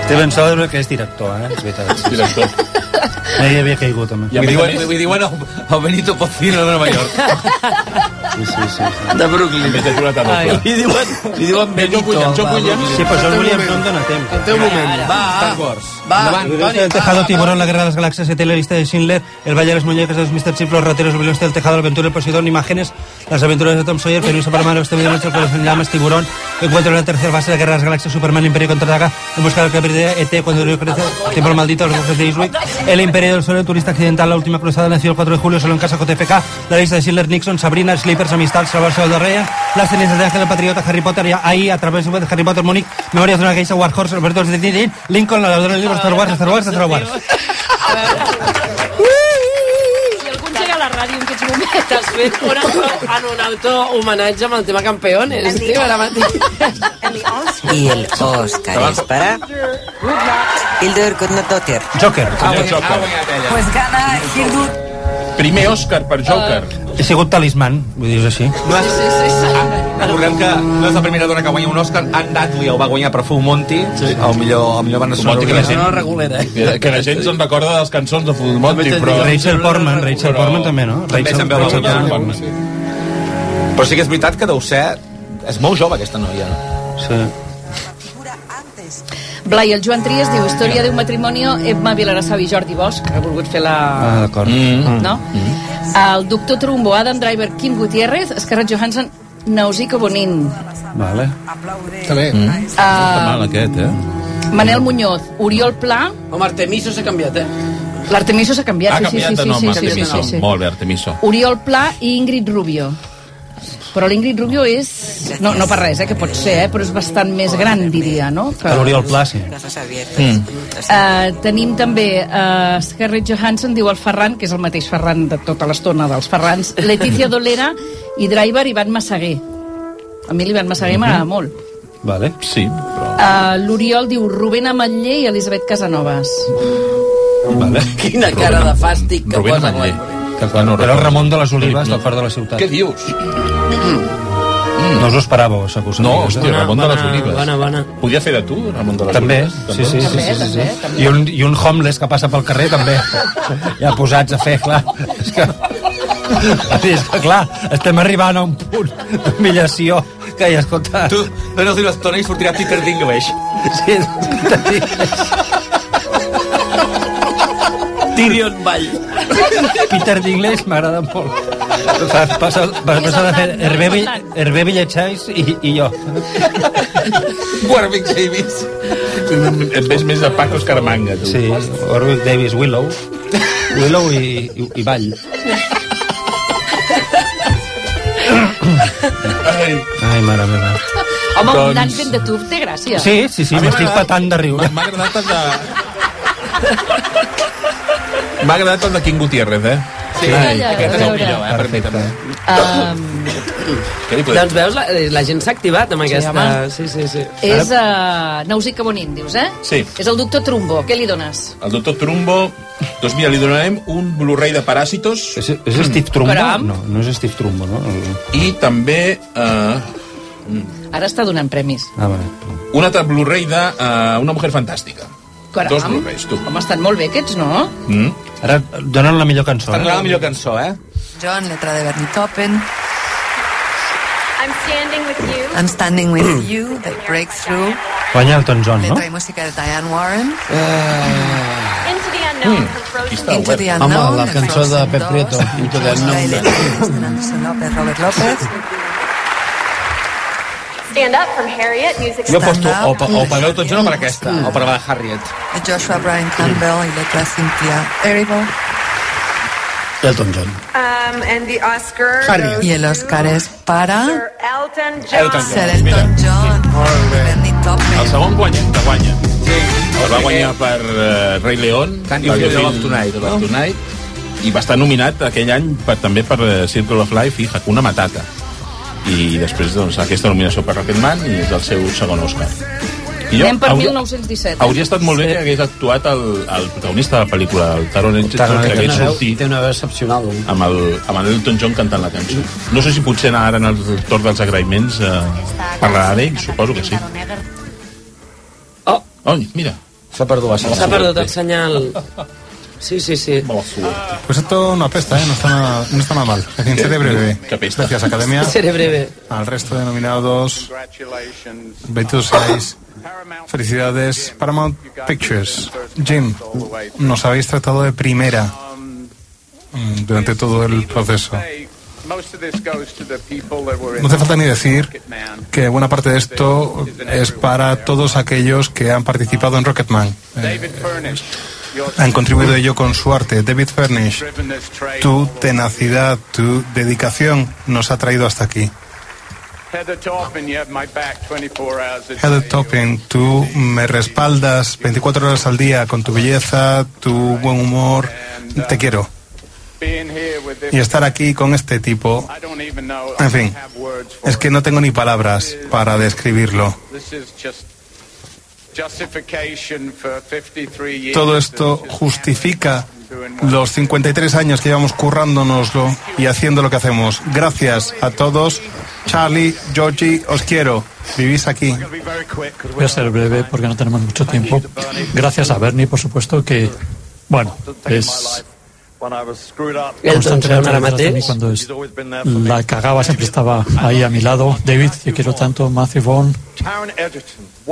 Speaker 16: Steven Soderbergh que és director, eh? És veritat. És
Speaker 4: director.
Speaker 16: Ja hi havia caigut, home.
Speaker 6: I ho diuen, ho diuen el, el Benito Pocino de Nova York.
Speaker 16: Sí, sí, sí.
Speaker 26: De Brooklyn.
Speaker 4: M'he aturat a
Speaker 16: doble.
Speaker 26: Li diuen, li diuen Benito.
Speaker 16: Williams, John
Speaker 26: va,
Speaker 16: Williams.
Speaker 26: Brooklyn.
Speaker 16: Sí, però John Williams no em dóna temps.
Speaker 26: El teu moment. Va, Star
Speaker 6: Wars.
Speaker 26: Va, Toni,
Speaker 16: El
Speaker 26: va,
Speaker 16: tejado, tiburón, la guerra de las galaxias, ET, la lista de Schindler, el valle de las muñecas, los Mr. Chip, los rateros, el del tejado, la aventura del Poseidón, imágenes, las aventuras de Tom Sawyer, permiso para Mario, este video noche, el corazón en llamas, tiburón, encuentro en la tercera base, la guerra de las galaxias, Superman, Imperio contraataca, en busca de la perdida, ET, cuando el río crece, el tiempo maldito, los ojos de Eastwick, el imperio del sol, el turista accidental, la última cruzada, nació el 4 de julio, solo en casa, JFK, la lista de Schindler, Nixon, Sabrina, Slippers, Amistad, Salvarse de Reyes, las cenizas de Ángel, el patriota, Harry Potter, y ahí, a través de Harry Potter, Múnich, Memorias de una geisha, War Horse, Roberto de Tintín, Lincoln, la ladrona de libros, Star Wars, Star Wars, Star Wars.
Speaker 2: Si algú engega la ràdio en aquests moments, has fet un auto, en un auto homenatge amb el tema Campeones, tio, ara mateix.
Speaker 9: Y el Oscar es para Hildur Gudnadottir.
Speaker 16: Joker.
Speaker 4: Senyor Joker.
Speaker 9: Pues gana Hildur.
Speaker 4: Primer Òscar per Joker.
Speaker 16: He sigut talisman, vull dir-ho així.
Speaker 6: No és, Recordem que no és la primera dona que guanya un Òscar. Anne Hathaway el va guanyar per Full Monty, el millor, el millor banda sonora.
Speaker 4: Monty que la gent-
Speaker 6: original.
Speaker 26: regulera,
Speaker 4: Que, que la gent se'n recorda de les cançons de Full Monty,
Speaker 16: També
Speaker 4: però...
Speaker 16: t'he dit, Rachel Portman, Rachel Portman també, no?
Speaker 6: També
Speaker 16: Rachel-
Speaker 6: se'n veu
Speaker 16: Rachel
Speaker 6: la
Speaker 16: Portman.
Speaker 6: Portman. Però sí que és veritat que deu ser... És molt jove, aquesta noia.
Speaker 16: Sí.
Speaker 17: Blai, el Joan Trias diu Història d'un matrimoni, Emma Vilarassau i Jordi Bosch, que ha volgut fer la...
Speaker 16: Ah, d'acord.
Speaker 17: Mm. No?
Speaker 4: Mm-hmm.
Speaker 17: El doctor Trumbo, Adam Driver, Kim Gutiérrez, Scarlett Johansson, Nausica Bonin,
Speaker 16: Vale.
Speaker 26: Està bé.
Speaker 4: Mm. Està mal, aquest, eh?
Speaker 17: Manel Muñoz, Oriol Pla...
Speaker 26: Home, Artemiso s'ha canviat, eh?
Speaker 17: L'Artemiso s'ha canviat,
Speaker 4: Ha
Speaker 17: sí, sí, sí,
Speaker 4: canviat de
Speaker 17: sí,
Speaker 4: nom,
Speaker 17: sí, sí, sí,
Speaker 4: Artemiso.
Speaker 17: sí, sí.
Speaker 4: Molt bé, Artemiso.
Speaker 17: Oriol Pla i Ingrid Rubio. Però l'Ingrid Rubio és... No, no per res, eh, que pot ser, eh, però és bastant més gran, diria, no? Que...
Speaker 16: L'Oriol Pla, sí. Mm.
Speaker 17: Uh, tenim també uh, Scarlett Johansson, diu el Ferran, que és el mateix Ferran de tota l'estona dels Ferrans, Letícia Dolera i Driver Ivan Massaguer. A mi l'Ivan
Speaker 16: Mhm.
Speaker 17: Massaguer m'agrada molt.
Speaker 16: Vale.
Speaker 4: Sí.
Speaker 17: Uh, L'Oriol diu Rubén Ametller i Elisabet Casanovas.
Speaker 16: Vale.
Speaker 26: Quina cara de fàstic que
Speaker 16: Rubén
Speaker 26: posa
Speaker 16: Ametller.
Speaker 26: l'any.
Speaker 16: Que quan Era el Ramon de les Olives del cor de la ciutat.
Speaker 26: Què dius?
Speaker 16: No us ho esperàveu, això que us
Speaker 4: No,
Speaker 16: sabia, eh?
Speaker 4: hòstia, Ramon de les Olives. Podia fer de tu, Ramon de les
Speaker 16: També,
Speaker 4: Olives.
Speaker 16: sí, sí, sí, sí, sí, sí. I un, I un homeless que passa pel carrer, també. Ja posats a fer, clar. És que... És que, clar, estem arribant a un punt d'humiliació que, ja, escolta...
Speaker 6: Tu, dones una estona i sortirà Peter Dinklage.
Speaker 16: Sí, és que t'he dit.
Speaker 26: Tyrion Vall.
Speaker 16: Peter Dinklage m'agrada molt. Vas passar, vas passar de fer Hervé, Vill- Hervé Villechais i, i jo.
Speaker 4: Warwick Davis. Et veig més de Paco Escaramanga, tu.
Speaker 16: Sí, Warwick Davis, Willow. Willow i, i, i Vall. Ai, mare meva.
Speaker 17: Home, doncs...
Speaker 16: Doncs-
Speaker 17: un nan fent de tu, té gràcia.
Speaker 16: Sí, sí, sí,
Speaker 4: A mi
Speaker 16: m'estic
Speaker 4: m'agrada-
Speaker 16: patant de riure.
Speaker 4: M'ha agradat el de... M'ha agradat el de Quim Gutiérrez, eh?
Speaker 2: Sí,
Speaker 4: Ai,
Speaker 2: ja,
Speaker 4: aquest és
Speaker 2: ja,
Speaker 4: el
Speaker 2: ja, ja.
Speaker 4: millor, eh? Perfecte.
Speaker 2: Um,
Speaker 4: Què li podem
Speaker 2: doncs veus, la, la gent s'ha activat amb
Speaker 4: Sí,
Speaker 2: aquesta...
Speaker 4: home.
Speaker 2: Sí, sí, sí.
Speaker 17: És uh, Nausica Bonin, dius, eh?
Speaker 4: Sí.
Speaker 17: És el doctor Trumbo. Què li dones?
Speaker 4: El doctor Trumbo... Doncs mira, li donarem un Blu-ray de Paràsitos. És,
Speaker 16: és Steve Trumbo?
Speaker 17: Caram.
Speaker 16: No, no és Steve Trumbo, no?
Speaker 4: I també eh,
Speaker 17: Ara està donant premis.
Speaker 16: Ah, vale.
Speaker 4: un altre Blu-ray de eh, Una mujer fantàstica.
Speaker 17: Caram.
Speaker 4: Dos Blu-rays, tu.
Speaker 17: Home, estan molt bé aquests, no?
Speaker 4: Mm?
Speaker 16: Ara donen la millor cançó.
Speaker 6: Estan donant la millor cançó, eh?
Speaker 22: John, letra de Bernie Taupin. I'm standing with you, the breakthrough.
Speaker 16: Guanya Elton John, no?
Speaker 22: Letra y música de Diane Warren.
Speaker 10: Into the unknown from Frozen.
Speaker 22: Into the
Speaker 26: Home,
Speaker 22: Unknown,
Speaker 26: Mm. la
Speaker 22: de
Speaker 26: cançó de
Speaker 22: Frozen
Speaker 26: Pep
Speaker 22: dos.
Speaker 26: Prieto. Into the
Speaker 22: La
Speaker 26: unknown.
Speaker 22: letra de Anderson López, Robert López.
Speaker 10: Stand up from Harriet, music.
Speaker 6: Jo aposto o, pa- o per Elton John o per aquesta, o per la de Harriet.
Speaker 22: de Joshua Brian Campbell y letra Cynthia Erivo.
Speaker 26: Elton John.
Speaker 10: Um, and the Oscar. goes
Speaker 22: Y el Oscar es para
Speaker 10: to Elton John.
Speaker 22: Elton John. Elton John. Bernie Taupin.
Speaker 4: El segon guanya, te guanya. Sí. El va guanyar per eh, Rei León.
Speaker 6: Can't You Feel the Love Tonight,
Speaker 4: Love
Speaker 6: no?
Speaker 4: Tonight. I va estar nominat aquell any per, també per eh, Circle of Life i Hakuna Matata. I després, doncs, aquesta nominació per Rocketman i és el seu segon Oscar. I jo
Speaker 17: Anem per
Speaker 4: hauria,
Speaker 17: 1917.
Speaker 4: hauria estat molt bé que hagués actuat el, el protagonista de la pel·lícula, el Taron Egerton, que hagués sortit
Speaker 26: Té una veu excepcional. un.
Speaker 4: amb el, amb el Elton John cantant la cançó. No sé si potser anar ara en el torn dels agraïments eh, parlarà d'ell, suposo que sí.
Speaker 2: Oh,
Speaker 4: oh mira.
Speaker 6: S'ha perdut.
Speaker 4: Mala
Speaker 2: S'ha perdut eh? el
Speaker 4: suerte.
Speaker 2: senyal. Sí, sí, sí.
Speaker 1: Pues esto no apesta, ¿eh? no, está nada, no está nada mal. Es decir, seré breve.
Speaker 4: ¿Qué apesta?
Speaker 1: Gracias, Academia.
Speaker 2: Seré breve.
Speaker 1: Al resto de nominados, 26. Felicidades, Paramount Pictures. Jim, nos habéis tratado de primera mm, durante todo el proceso.
Speaker 20: No
Speaker 1: No hace falta ni decir que buena parte de esto es para todos aquellos que han participado en Rocketman. Han contribuido ello con su arte. David Furnish, tu tenacidad, tu dedicación nos ha traído hasta aquí. Heather Topping, tú me respaldas 24 horas al día con tu belleza, tu buen humor. Te quiero. Y estar aquí con este tipo, en fin, es que no tengo ni palabras para describirlo. Todo esto justifica los 53 años que llevamos currándonoslo y haciendo lo que hacemos. Gracias a todos. Charlie, Georgie, os quiero. Vivís aquí.
Speaker 25: Voy a ser breve porque no tenemos mucho tiempo. Gracias a Bernie, por supuesto, que, bueno, es constantemente detrás de mí cuando es- la cagaba, siempre estaba ahí a mi lado. David, te quiero tanto, Matthew Vaughn,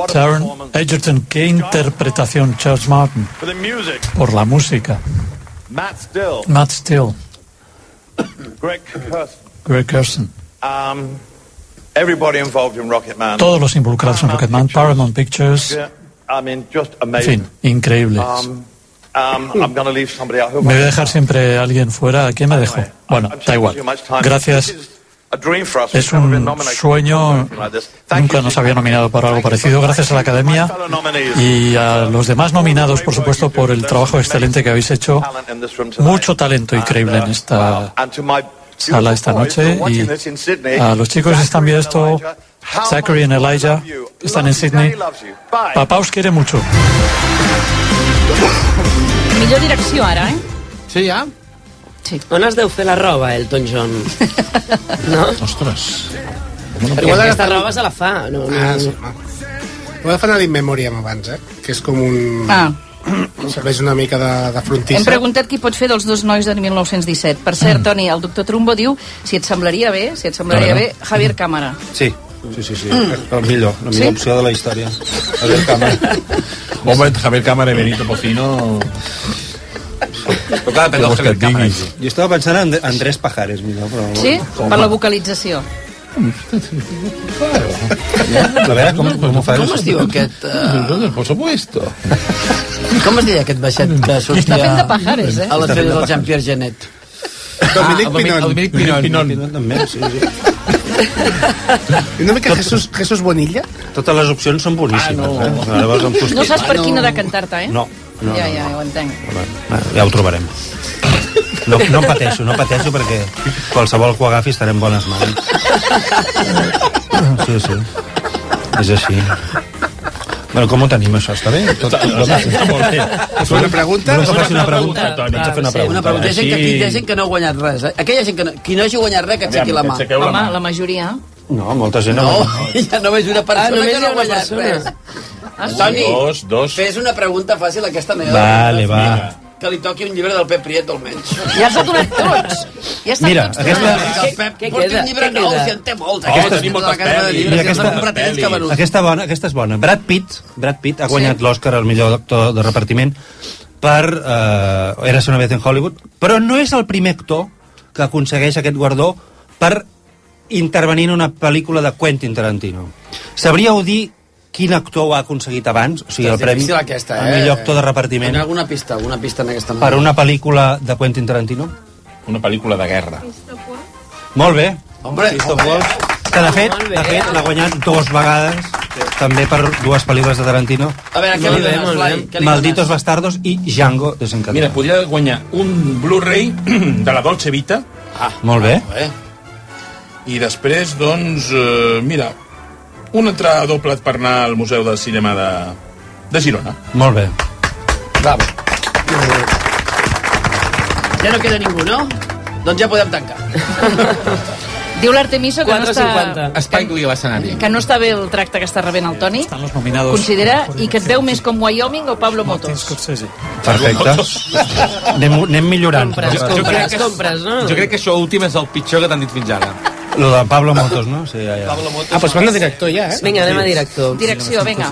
Speaker 25: Taron Egerton, qué interpretación, Charles Martin, por la música.
Speaker 20: Matt Still,
Speaker 25: Matt Still,
Speaker 20: Greg Kirsten,
Speaker 25: Greg Kirsten,
Speaker 20: um, everybody involved in Rocketman.
Speaker 25: todos los involucrados en Rocketman, Paramount Pictures,
Speaker 20: Yeah, I mean, just
Speaker 25: en
Speaker 20: amazing.
Speaker 25: fin, increíbles.
Speaker 20: Um, um, I'm going to leave somebody out. Who am
Speaker 25: Me
Speaker 20: I-
Speaker 25: voy a dejar siempre a alguien fuera. ¿A quién me dejo? Bueno, da igual. Gracias.
Speaker 20: A dream for us.
Speaker 25: Es un sueño. Nunca nos había nominado para algo parecido. Gracias a la Academia y a los demás nominados, por supuesto, por el trabajo excelente que habéis hecho. Mucho talento increíble en esta sala esta noche. Y a los chicos que están viendo esto, Zachary y Elijah, que están en Sydney. Papá os quiere mucho.
Speaker 17: Millor direcció ara, eh?
Speaker 2: Sí, ja? Sí. On es deu fer la roba, Elton John? No?
Speaker 4: Ostres.
Speaker 2: Perquè
Speaker 3: Igual
Speaker 2: aquesta
Speaker 3: agafar-
Speaker 2: roba se la fa. No, no,
Speaker 3: Ah, sí,
Speaker 2: no.
Speaker 3: home. Ho agafant a l'Inmemoriam abans, eh? Que és com un...
Speaker 17: Ah.
Speaker 3: Serveix una mica de, de frontissa.
Speaker 17: Hem preguntat qui pot fer dels dos nois del 1917. Per
Speaker 4: Mm.
Speaker 17: cert, Toni, el doctor Trumbo diu si et semblaria bé, si et semblaria
Speaker 16: A
Speaker 17: bé,
Speaker 16: veure.
Speaker 17: Javier Cámara.
Speaker 4: Mm.
Speaker 16: Sí, sí, sí, sí.
Speaker 17: Mm.
Speaker 16: El millor, la millor
Speaker 17: Sí?
Speaker 16: opció de la història. A veure, càmera.
Speaker 4: Home, Javier Cámara i Benito Pocino...
Speaker 16: Però clar,
Speaker 4: depèn del Javier Cámara.
Speaker 16: Jo estava pensant en Andrés Pajares, millor, però...
Speaker 17: Sí?
Speaker 16: Com,
Speaker 17: Per la vocalització.
Speaker 16: A veure, com, com ho fas?
Speaker 26: Com es diu aquest...
Speaker 18: eh,
Speaker 26: Uh...
Speaker 4: Por supuesto.
Speaker 26: Com es deia aquest baixet que sortia...
Speaker 17: Està fent de pajares,
Speaker 26: A
Speaker 17: eh?
Speaker 26: la
Speaker 17: Està
Speaker 26: tele del
Speaker 17: fent de pajares.
Speaker 26: Jean-Pierre Genet.
Speaker 18: Ah,
Speaker 3: Dominic Pinon.
Speaker 16: Ah, Dominic Pinon. també, sí, sí.
Speaker 3: Una mica Jesús, Jesús Bonilla.
Speaker 16: Totes les opcions són boníssimes.
Speaker 3: Ah, no.
Speaker 16: eh? Ara veus em costa.
Speaker 4: Ah,
Speaker 17: No saps per quina de cantar-te, eh?
Speaker 16: No.
Speaker 17: No, ja, ja, ho entenc.
Speaker 16: Va, Ja ho trobarem. No, no pateixo, no pateixo perquè qualsevol que ho agafi estarem bones mans. Sí, sí. És així. Bueno, com ho tenim, això? Està bé? Tot,
Speaker 5: Està- està molt bé.
Speaker 16: És una pregunta? Vaig a fer una pregunta, Toni. Vaig a fer una pregunta.
Speaker 18: Eh, Una pregunta. Hi ha gent, que, hi ha gent que no ha guanyat res. eh? Aquella gent que no, qui no hagi guanyat res, que aixequi
Speaker 16: Aviam,
Speaker 18: la
Speaker 16: que
Speaker 18: mà.
Speaker 16: aixequeu la Home, mà.
Speaker 17: La majoria.
Speaker 16: No, molta gent...
Speaker 18: No, hi ha només una persona
Speaker 17: Ah, només
Speaker 18: que
Speaker 17: hi
Speaker 18: no
Speaker 17: ha
Speaker 18: ha
Speaker 17: una
Speaker 18: guanyat
Speaker 17: persona.
Speaker 18: res.
Speaker 17: Ah, sí?
Speaker 18: Toni,
Speaker 4: Dos, dos.
Speaker 18: fes una pregunta fàcil a aquesta nena.
Speaker 16: Vale, va.
Speaker 18: Que li toqui un llibre del Pep Prieto, almenys.
Speaker 17: Ja s'ha donat tots. Ja
Speaker 16: estan Mira, tots aquesta- donats.
Speaker 18: Que el Pep
Speaker 17: Què
Speaker 18: porti
Speaker 17: queda?
Speaker 18: un llibre
Speaker 17: Què
Speaker 18: nou,
Speaker 17: queda?
Speaker 18: si en té molts.
Speaker 16: Oh,
Speaker 18: Aquesta
Speaker 16: tenim
Speaker 18: és la
Speaker 16: moltes
Speaker 18: casa de
Speaker 16: pel·lis.
Speaker 18: llibres.
Speaker 16: Mira,
Speaker 18: que ens
Speaker 16: aquesta-
Speaker 18: han comprat ells que ha venut.
Speaker 16: Aquesta, bona, aquesta és bona. Brad Pitt, Brad Pitt ha guanyat
Speaker 18: Sí.
Speaker 16: l'Oscar al millor actor de repartiment per eh, Eres una vez en Hollywood, però no és el primer actor que aconsegueix aquest guardó per intervenir en una pel·lícula de Quentin Tarantino. Sabríeu dir quin actor ho ha aconseguit abans? O sigui, el
Speaker 18: És
Speaker 16: premi
Speaker 18: difícil aquesta,
Speaker 16: al
Speaker 18: eh?
Speaker 16: millor actor de repartiment
Speaker 18: Dona alguna pista, alguna pista en aquesta
Speaker 16: per una pel·lícula de Quentin Tarantino?
Speaker 4: Una pel·lícula de guerra.
Speaker 16: Molt bé.
Speaker 18: Hombre,
Speaker 16: Christoph Waltz, que
Speaker 18: Ah,
Speaker 16: de fet, de fet l'ha guanyat dues vegades, també per dues pel·lícules de Tarantino.
Speaker 18: A veure, què li dones, Blai? Què li
Speaker 16: Malditos bastardos i Django desencadenat.
Speaker 4: Mira, podria guanyar un Blu-ray de la Dolce Vita.
Speaker 18: Ah,
Speaker 16: Molt bé.
Speaker 18: bé.
Speaker 4: Eh? I després, doncs, eh, mira, un altre doble per anar al Museu de Cinema de, de Girona.
Speaker 16: Molt bé.
Speaker 18: Bravo. Ja no queda ningú, no? Doncs ja podem tancar.
Speaker 17: Diu l'Artemiso que, no està,
Speaker 27: 4,50. Spike Lee a l'escenari.
Speaker 17: que no està bé el tracte que està rebent el Toni.
Speaker 25: Nominados.
Speaker 17: Considera i que et veu més com Wyoming o Pablo Motos.
Speaker 25: Scorsese.
Speaker 16: Perfecte. Anem, anem millorant.
Speaker 17: Compres,
Speaker 16: Jo- jo
Speaker 17: compres,
Speaker 16: crec que-
Speaker 17: compres, no?
Speaker 27: Jo crec que això últim és el pitjor que t'han dit fins ara.
Speaker 16: Lo de Pablo Motos, no? Sí, ja, ja.
Speaker 27: Ah, doncs van de director
Speaker 3: ja, eh?
Speaker 2: Vinga, anem a director.
Speaker 17: Direcció, vinga.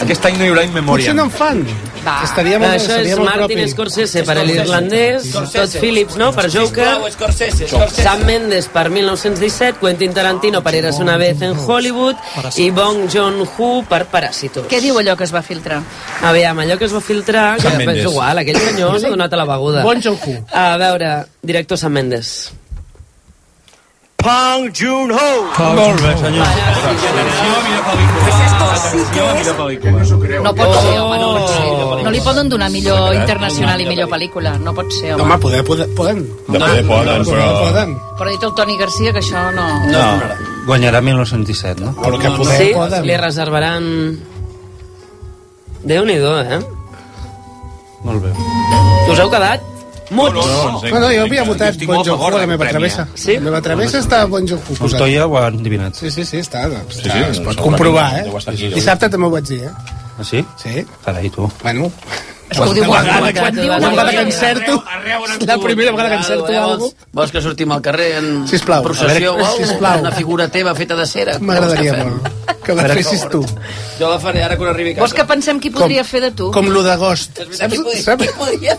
Speaker 27: Aquest any no hi haurà In
Speaker 3: Potser
Speaker 27: Memoriam.
Speaker 3: no en fan.
Speaker 17: Va.
Speaker 3: Estaria molt,
Speaker 2: Això
Speaker 3: estaria
Speaker 2: és
Speaker 3: molt
Speaker 2: Martin
Speaker 3: propi.
Speaker 2: Scorsese per a l'irlandès, Todd Phillips, no?, per Joker,
Speaker 18: Sisplau, Scorsese, Scorsese.
Speaker 2: Sam Mendes per 1917, Quentin Tarantino per Eres una vez en Hollywood i Bong Joon-ho per Paràsitos.
Speaker 17: Què diu allò que es va filtrar?
Speaker 2: Aviam, allò que es va filtrar, que
Speaker 17: Sam
Speaker 2: ja penso
Speaker 17: Mendes.
Speaker 2: igual, aquell senyor s'ha donat a la beguda.
Speaker 3: Bon Joon-ho.
Speaker 2: A veure, director Sam Mendes.
Speaker 5: Pong Joon-ho.
Speaker 16: Molt bé, senyor.
Speaker 22: Pues
Speaker 17: No pot ser, home, no pot ser. No li poden donar millor internacional i millor pel·lícula. No pot ser, home.
Speaker 3: Home, poder, poder, podem.
Speaker 16: De poder poden, però-
Speaker 3: Poden.
Speaker 17: Però ha dit el Toni Garcia que això no...
Speaker 16: No, guanyarà 1917, no?
Speaker 3: Però que
Speaker 2: sí, li reservaran... Déu-n'hi-do, eh?
Speaker 16: Molt bé.
Speaker 2: Us heu quedat? Muts!
Speaker 3: No, no, jo havia votat Bon Joon-ho a la meva travessa.
Speaker 2: Sí?
Speaker 3: La meva travessa està Bon Joon-ho
Speaker 16: El
Speaker 3: posat.
Speaker 16: Toia ho ha endivinat.
Speaker 3: Sí, sí, sí, està. doncs,
Speaker 16: Sí, sí,
Speaker 3: està es pot
Speaker 16: segurament
Speaker 3: comprovar,
Speaker 16: deu estar
Speaker 3: eh?
Speaker 16: aquí, deu.
Speaker 3: Dissabte també ho vaig dir, eh?
Speaker 16: Ah, sí?
Speaker 3: Sí.
Speaker 16: Carai, tu.
Speaker 3: Bueno.
Speaker 18: que ho diu
Speaker 3: la
Speaker 18: quan-
Speaker 3: vegada que-
Speaker 18: quan diu
Speaker 3: la
Speaker 18: una
Speaker 3: vegada
Speaker 18: cosa.
Speaker 3: que encerto, és la primera vegada que encerto
Speaker 18: Cuidado,
Speaker 3: alguna
Speaker 18: Vols, vols que sortim al carrer en
Speaker 3: Sisplau.
Speaker 18: processió?
Speaker 3: A veure,
Speaker 18: o algo?
Speaker 3: sisplau.
Speaker 18: Una figura teva feta de cera?
Speaker 3: M'agradaria
Speaker 18: Què vols que
Speaker 3: molt que la
Speaker 18: Per
Speaker 3: fessis
Speaker 18: favor.
Speaker 3: tu.
Speaker 18: fem? Jo la faré ara quan arribi a casa.
Speaker 17: Vols que pensem qui podria fer de tu?
Speaker 3: Com lo d'agost. Saps? Saps?
Speaker 18: Què podria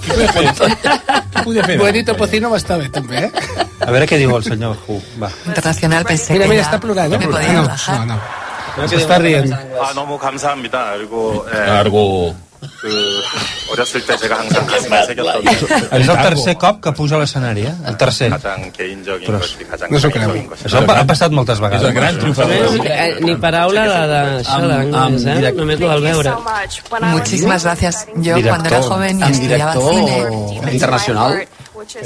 Speaker 18: fer?
Speaker 3: Buenito Pocino va estar bé, també, eh?
Speaker 16: A veure què diu el senyor Hu. Va.
Speaker 22: Internacional pensé
Speaker 3: Mira,
Speaker 22: que
Speaker 3: mira,
Speaker 22: ya
Speaker 3: està plorant, eh?
Speaker 22: me podía
Speaker 3: No,
Speaker 22: relajar.
Speaker 3: no, no. S'està rient.
Speaker 12: 아, 너무 감사합니다. 그리고 예,
Speaker 4: Argo.
Speaker 12: 그 어렸을 때 제가 항상 가슴에 새겼던 아,
Speaker 16: És el tercer cop que puja a l'escenari, eh? El tercer.
Speaker 12: 가장 개인적인 것이 가장
Speaker 16: No s'ho creu.
Speaker 12: 개인적인 것이
Speaker 16: Això ha, ha passat moltes vegades.
Speaker 12: És el gran
Speaker 2: Ves, eh, Ni paraula de, de això
Speaker 16: Amb-
Speaker 2: d'anglès,
Speaker 16: amb
Speaker 2: eh?
Speaker 16: director.
Speaker 2: Només ho del veure.
Speaker 22: Muchísimas gracias. Yo cuando era joven y
Speaker 18: amb
Speaker 22: estudiaba
Speaker 18: director
Speaker 22: cine,
Speaker 18: internacional.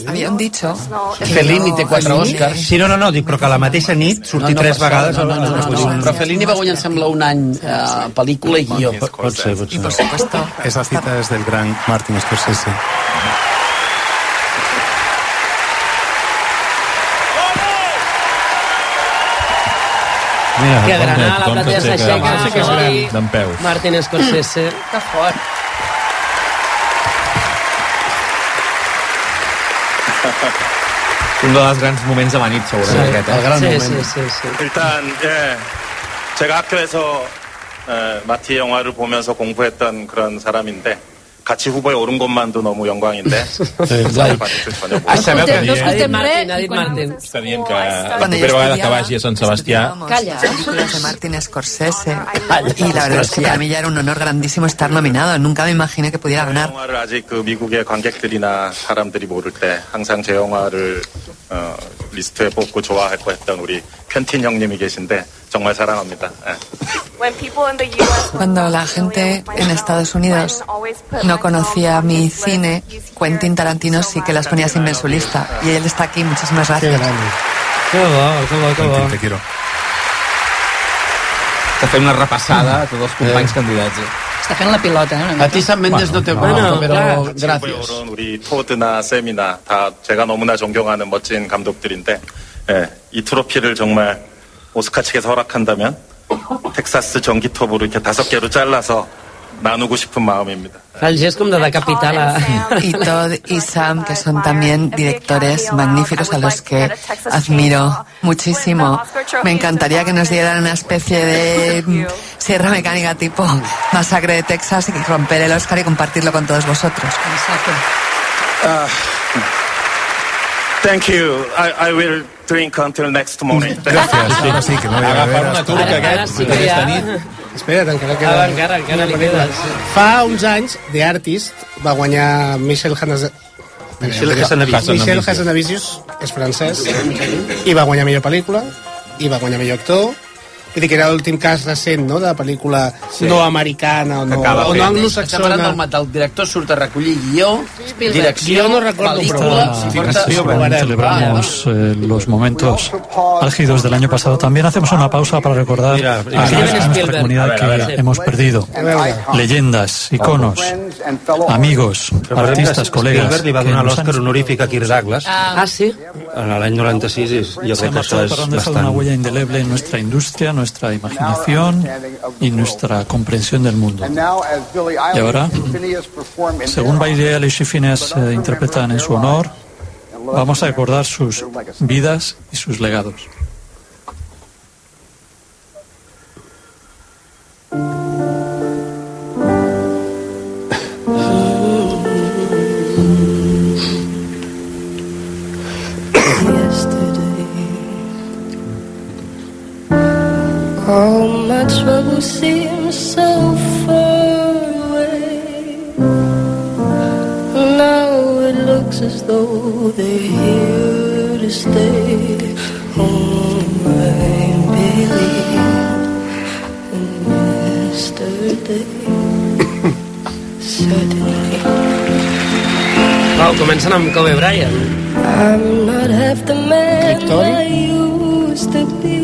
Speaker 22: había un dicho. que
Speaker 18: Fellini
Speaker 22: yo-
Speaker 18: té quatre Oscars.
Speaker 16: Sí, no, no, no, dic, però que la mateixa nit sortir
Speaker 18: No, no,
Speaker 16: tres
Speaker 18: per això,
Speaker 16: vegades...
Speaker 18: no, no, no, no, no, no. Però Fellini va guanyar, em sembla, un any eh, pel·lícula i guió.
Speaker 16: Pot ser, pot ser.
Speaker 22: supuesto.
Speaker 1: Esa cita es del gran Martin Scorsese.
Speaker 16: Mira,
Speaker 2: Que granar, la platea s'aixeca. Oi,
Speaker 4: D'en peus.
Speaker 2: Martin Scorsese.
Speaker 17: Que fort.
Speaker 27: Un dels grans moments de la nit, segurament, aquest,
Speaker 6: 아,
Speaker 27: eh?
Speaker 6: 네,
Speaker 12: 일단 예, 제가 학교에서 예, 마티의 영화를 보면서 공부했던 그런 사람인데 같이 후보에 오른 것만도 너무 영광인데 상을 받을 줄 전혀 몰랐어요.
Speaker 17: no
Speaker 2: Martin,
Speaker 17: escoltem res
Speaker 2: ha
Speaker 17: i
Speaker 2: dit
Speaker 17: quan-
Speaker 2: Martin.
Speaker 4: Està dient que la
Speaker 22: Quan
Speaker 4: propera
Speaker 22: jo
Speaker 4: vegada que
Speaker 22: estudiava,
Speaker 4: vagi a Sant Sebastià...
Speaker 22: Calla. Películas de Martin Scorsese. Y la verdad es que para mí ya era un honor grandísimo estar nominado. Nunca me imaginé que pudiera ganar.
Speaker 12: 영화를 아직 그 미국의 관객들이나 사람들이 모를 때 항상 제 영화를 어, 리스트에 뽑고 좋아할 거 했던 우리 켄틴 형님이 계신데 정말 사랑합니다. 예.
Speaker 22: Cuando la gente en Estados Unidos no conocía mi cine, Quentin Tarantino sí que las ponía sin en su lista. Y él está aquí, muchísimas gracias.
Speaker 16: Qué grande. Qué va, qué va, qué va.
Speaker 1: Te quiero.
Speaker 6: Està fent una repassada a tots els companys candidats. Eh?
Speaker 17: Està fent la pilota, eh? una
Speaker 26: A ti Sam Mendes no te conozco, pero gracias.
Speaker 12: 가치부여로는 우리 토드나 샘이나 다 제가 너무나 존경하는 멋진 감독들인데 예, 이 트로피를 정말 오스카 측에서 허락한다면 텍사스 전기톱으로 이렇게 다섯 개로 잘라서 나누고 싶은 마음입니다.
Speaker 2: Fa el gest com de decapitar la...
Speaker 22: Y Todd y Sam, que son también directores magníficos a los que admiro muchísimo. Me encantaría que nos dieran una especie de mm, sierra mecánica tipo Masacre de Texas y romper el Oscar y compartirlo con todos vosotros.
Speaker 12: Uh, thank you. I, I will drink until next morning.
Speaker 1: Gracias. Ahora sí, que no voy a
Speaker 4: Agafar
Speaker 1: beber
Speaker 4: una
Speaker 1: hasta-
Speaker 4: turca,
Speaker 3: Ara,
Speaker 4: aquest,
Speaker 3: ara sí que
Speaker 4: d'aquesta
Speaker 3: ja.
Speaker 4: nit.
Speaker 3: Espera't, encara queda... Ah, encara- encara una li pel·lícula. queda, sí. Fa uns anys, The Artist va guanyar Michel Hanas...
Speaker 16: Michel Hazanavicius.
Speaker 3: Michel Hazanavicius és francès i va guanyar millor pel·lícula i va guanyar millor actor Vull dir que era l'últim cas recent, no?, de pel·lícula
Speaker 18: Sí.
Speaker 3: no americana o no,
Speaker 18: Acaba
Speaker 3: o no
Speaker 18: fent. eh? Estem parlant
Speaker 3: Oh, anglosaxona.
Speaker 18: del, mat- del director surt a recollir guió,
Speaker 17: Spielberg.
Speaker 3: Guió
Speaker 18: direcció...
Speaker 3: no recordo, però-
Speaker 18: pel·lícula,
Speaker 3: Ah,
Speaker 18: si porta-
Speaker 3: Spielberg.
Speaker 25: Celebramos eh, los momentos álgidos del año pasado. También hacemos una pausa para recordar a,
Speaker 3: mira,
Speaker 25: a
Speaker 3: Steven
Speaker 25: nuestra
Speaker 3: Spielberg.
Speaker 25: comunidad
Speaker 3: A ver, a ver.
Speaker 25: que hemos perdido. Leyendas, iconos, amigos, artistas, colegas.
Speaker 16: Spielberg li va
Speaker 25: que
Speaker 16: donar
Speaker 25: nos han
Speaker 16: l'Òscar honorífic a Kirk Douglas
Speaker 2: Ah, sí?
Speaker 16: en l'any 96 i jo
Speaker 25: Se ha
Speaker 16: crec que això
Speaker 25: marchado
Speaker 16: és
Speaker 25: para han dejado una
Speaker 16: bastant...
Speaker 25: huella indeleble en nuestra industria, nuestra imaginación y nuestra comprensión del mundo.
Speaker 11: Y
Speaker 25: ahora, Según Bailey Eilish y Phineas eh, interpretan en su honor, vamos a recordar sus vidas y sus legados.
Speaker 15: All my trouble seems so far away. Now it looks as though they're here to stay. Oh, my belief in yesterday. Suddenly.
Speaker 2: Wow, comencen amb Kobe Bryant.
Speaker 15: I'm not half the man I used to be.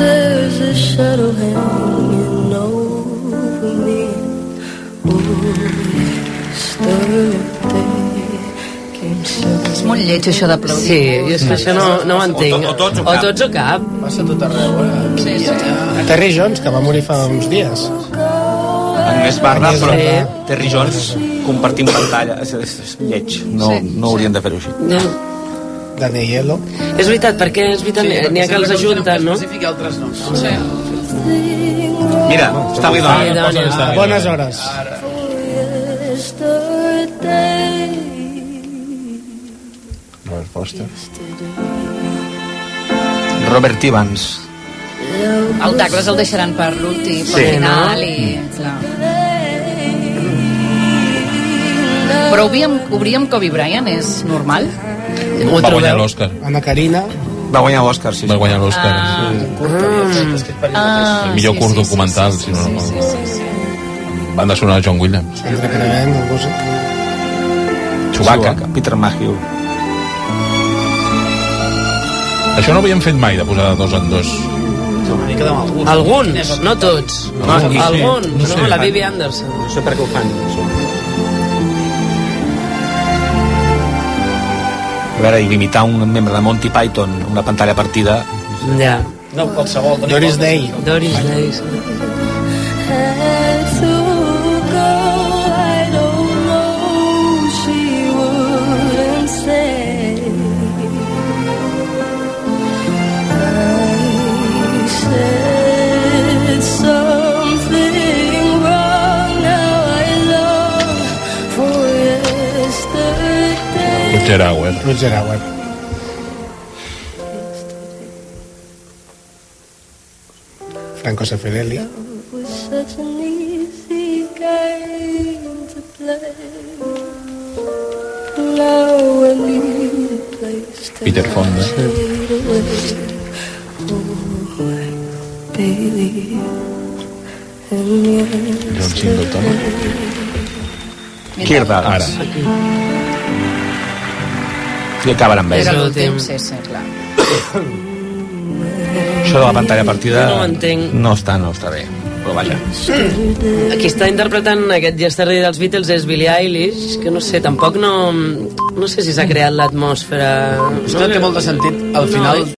Speaker 15: There's a shadow hanging over me. Ooh, yesterday came suddenly.
Speaker 17: És molt lleig, això d'aplaudir.
Speaker 2: Sí, jo és que això no, no ho entenc. O, tots o cap. O tots o cap.
Speaker 3: Passa tot arreu. Eh? Sí, sí. Terry Jones, que va morir fa uns dies.
Speaker 6: Agnès Barda,
Speaker 3: Agnès
Speaker 6: però
Speaker 3: Barda.
Speaker 6: Terry Jones compartint pantalla. És, és, és lleig. No,
Speaker 3: Sí.
Speaker 6: no haurien de fer-ho així.
Speaker 2: No.
Speaker 3: Dani Hielo.
Speaker 2: És veritat, perquè és veritat,
Speaker 18: Sí,
Speaker 2: n'hi ha
Speaker 18: perquè
Speaker 2: que els
Speaker 18: sempre
Speaker 2: ajunten, no?
Speaker 18: específica altres noms. Sí.
Speaker 6: Mira, està bé,
Speaker 3: Ai,
Speaker 6: dona.
Speaker 3: Dani,
Speaker 6: Està bé.
Speaker 3: Bones hores.
Speaker 6: Robert Evans.
Speaker 17: El Douglas el deixaran per l'últim,
Speaker 6: Sí,
Speaker 17: sí, final,
Speaker 6: no?
Speaker 17: i... Clar. Però obrir amb, obrir amb Kobe Bryant és normal?
Speaker 4: Va guanyar l'Òscar.
Speaker 3: Anna Karina.
Speaker 6: Va guanyar l'Òscar, sí.
Speaker 4: Va guanyar l'Òscar. Ah. Sí.
Speaker 17: Ah,
Speaker 4: El millor curt documental, si no recordo. Van de sonar John Williams.
Speaker 3: Sandra Canavan, algú sé.
Speaker 4: Chewbacca.
Speaker 6: Peter Mayhew.
Speaker 4: Això no ho havíem fet mai, de posar de dos en dos.
Speaker 2: Alguns, no tots.
Speaker 4: No, sí, sí.
Speaker 2: Alguns,
Speaker 4: No sé.
Speaker 2: no? La Bibi Anderson.
Speaker 6: No sé per què ho fan. Això. A veure, i limitar un membre de Monty Python a una pantalla partida...
Speaker 2: Ja.
Speaker 18: No, qualsevol. no
Speaker 3: Doris
Speaker 18: importa.
Speaker 3: Day.
Speaker 2: Doris Day.
Speaker 15: Had to go, I don't know she wouldn't say. I said something wrong. Now I long for yesterday.
Speaker 4: Roger Auer.
Speaker 3: Roger Auer. Franco Sefirelli.
Speaker 15: was such an easy game to play. Now I need a place to
Speaker 4: Peter Fonda.
Speaker 15: hide away. Oh, I
Speaker 4: John Singleton.
Speaker 6: Kirk Douglas. I acaben amb
Speaker 17: Era
Speaker 6: ell.
Speaker 17: l'últim, sí, sí, clar.
Speaker 6: Això de la pantalla partida
Speaker 2: No ho entenc.
Speaker 6: no està, no està bé. Però vaja.
Speaker 2: Qui està interpretant aquest Yesterday dels Beatles és Billie Eilish, que no sé, tampoc no... No sé si s'ha creat l'atmosfera... eh?
Speaker 18: És que no té molt de sentit, al final,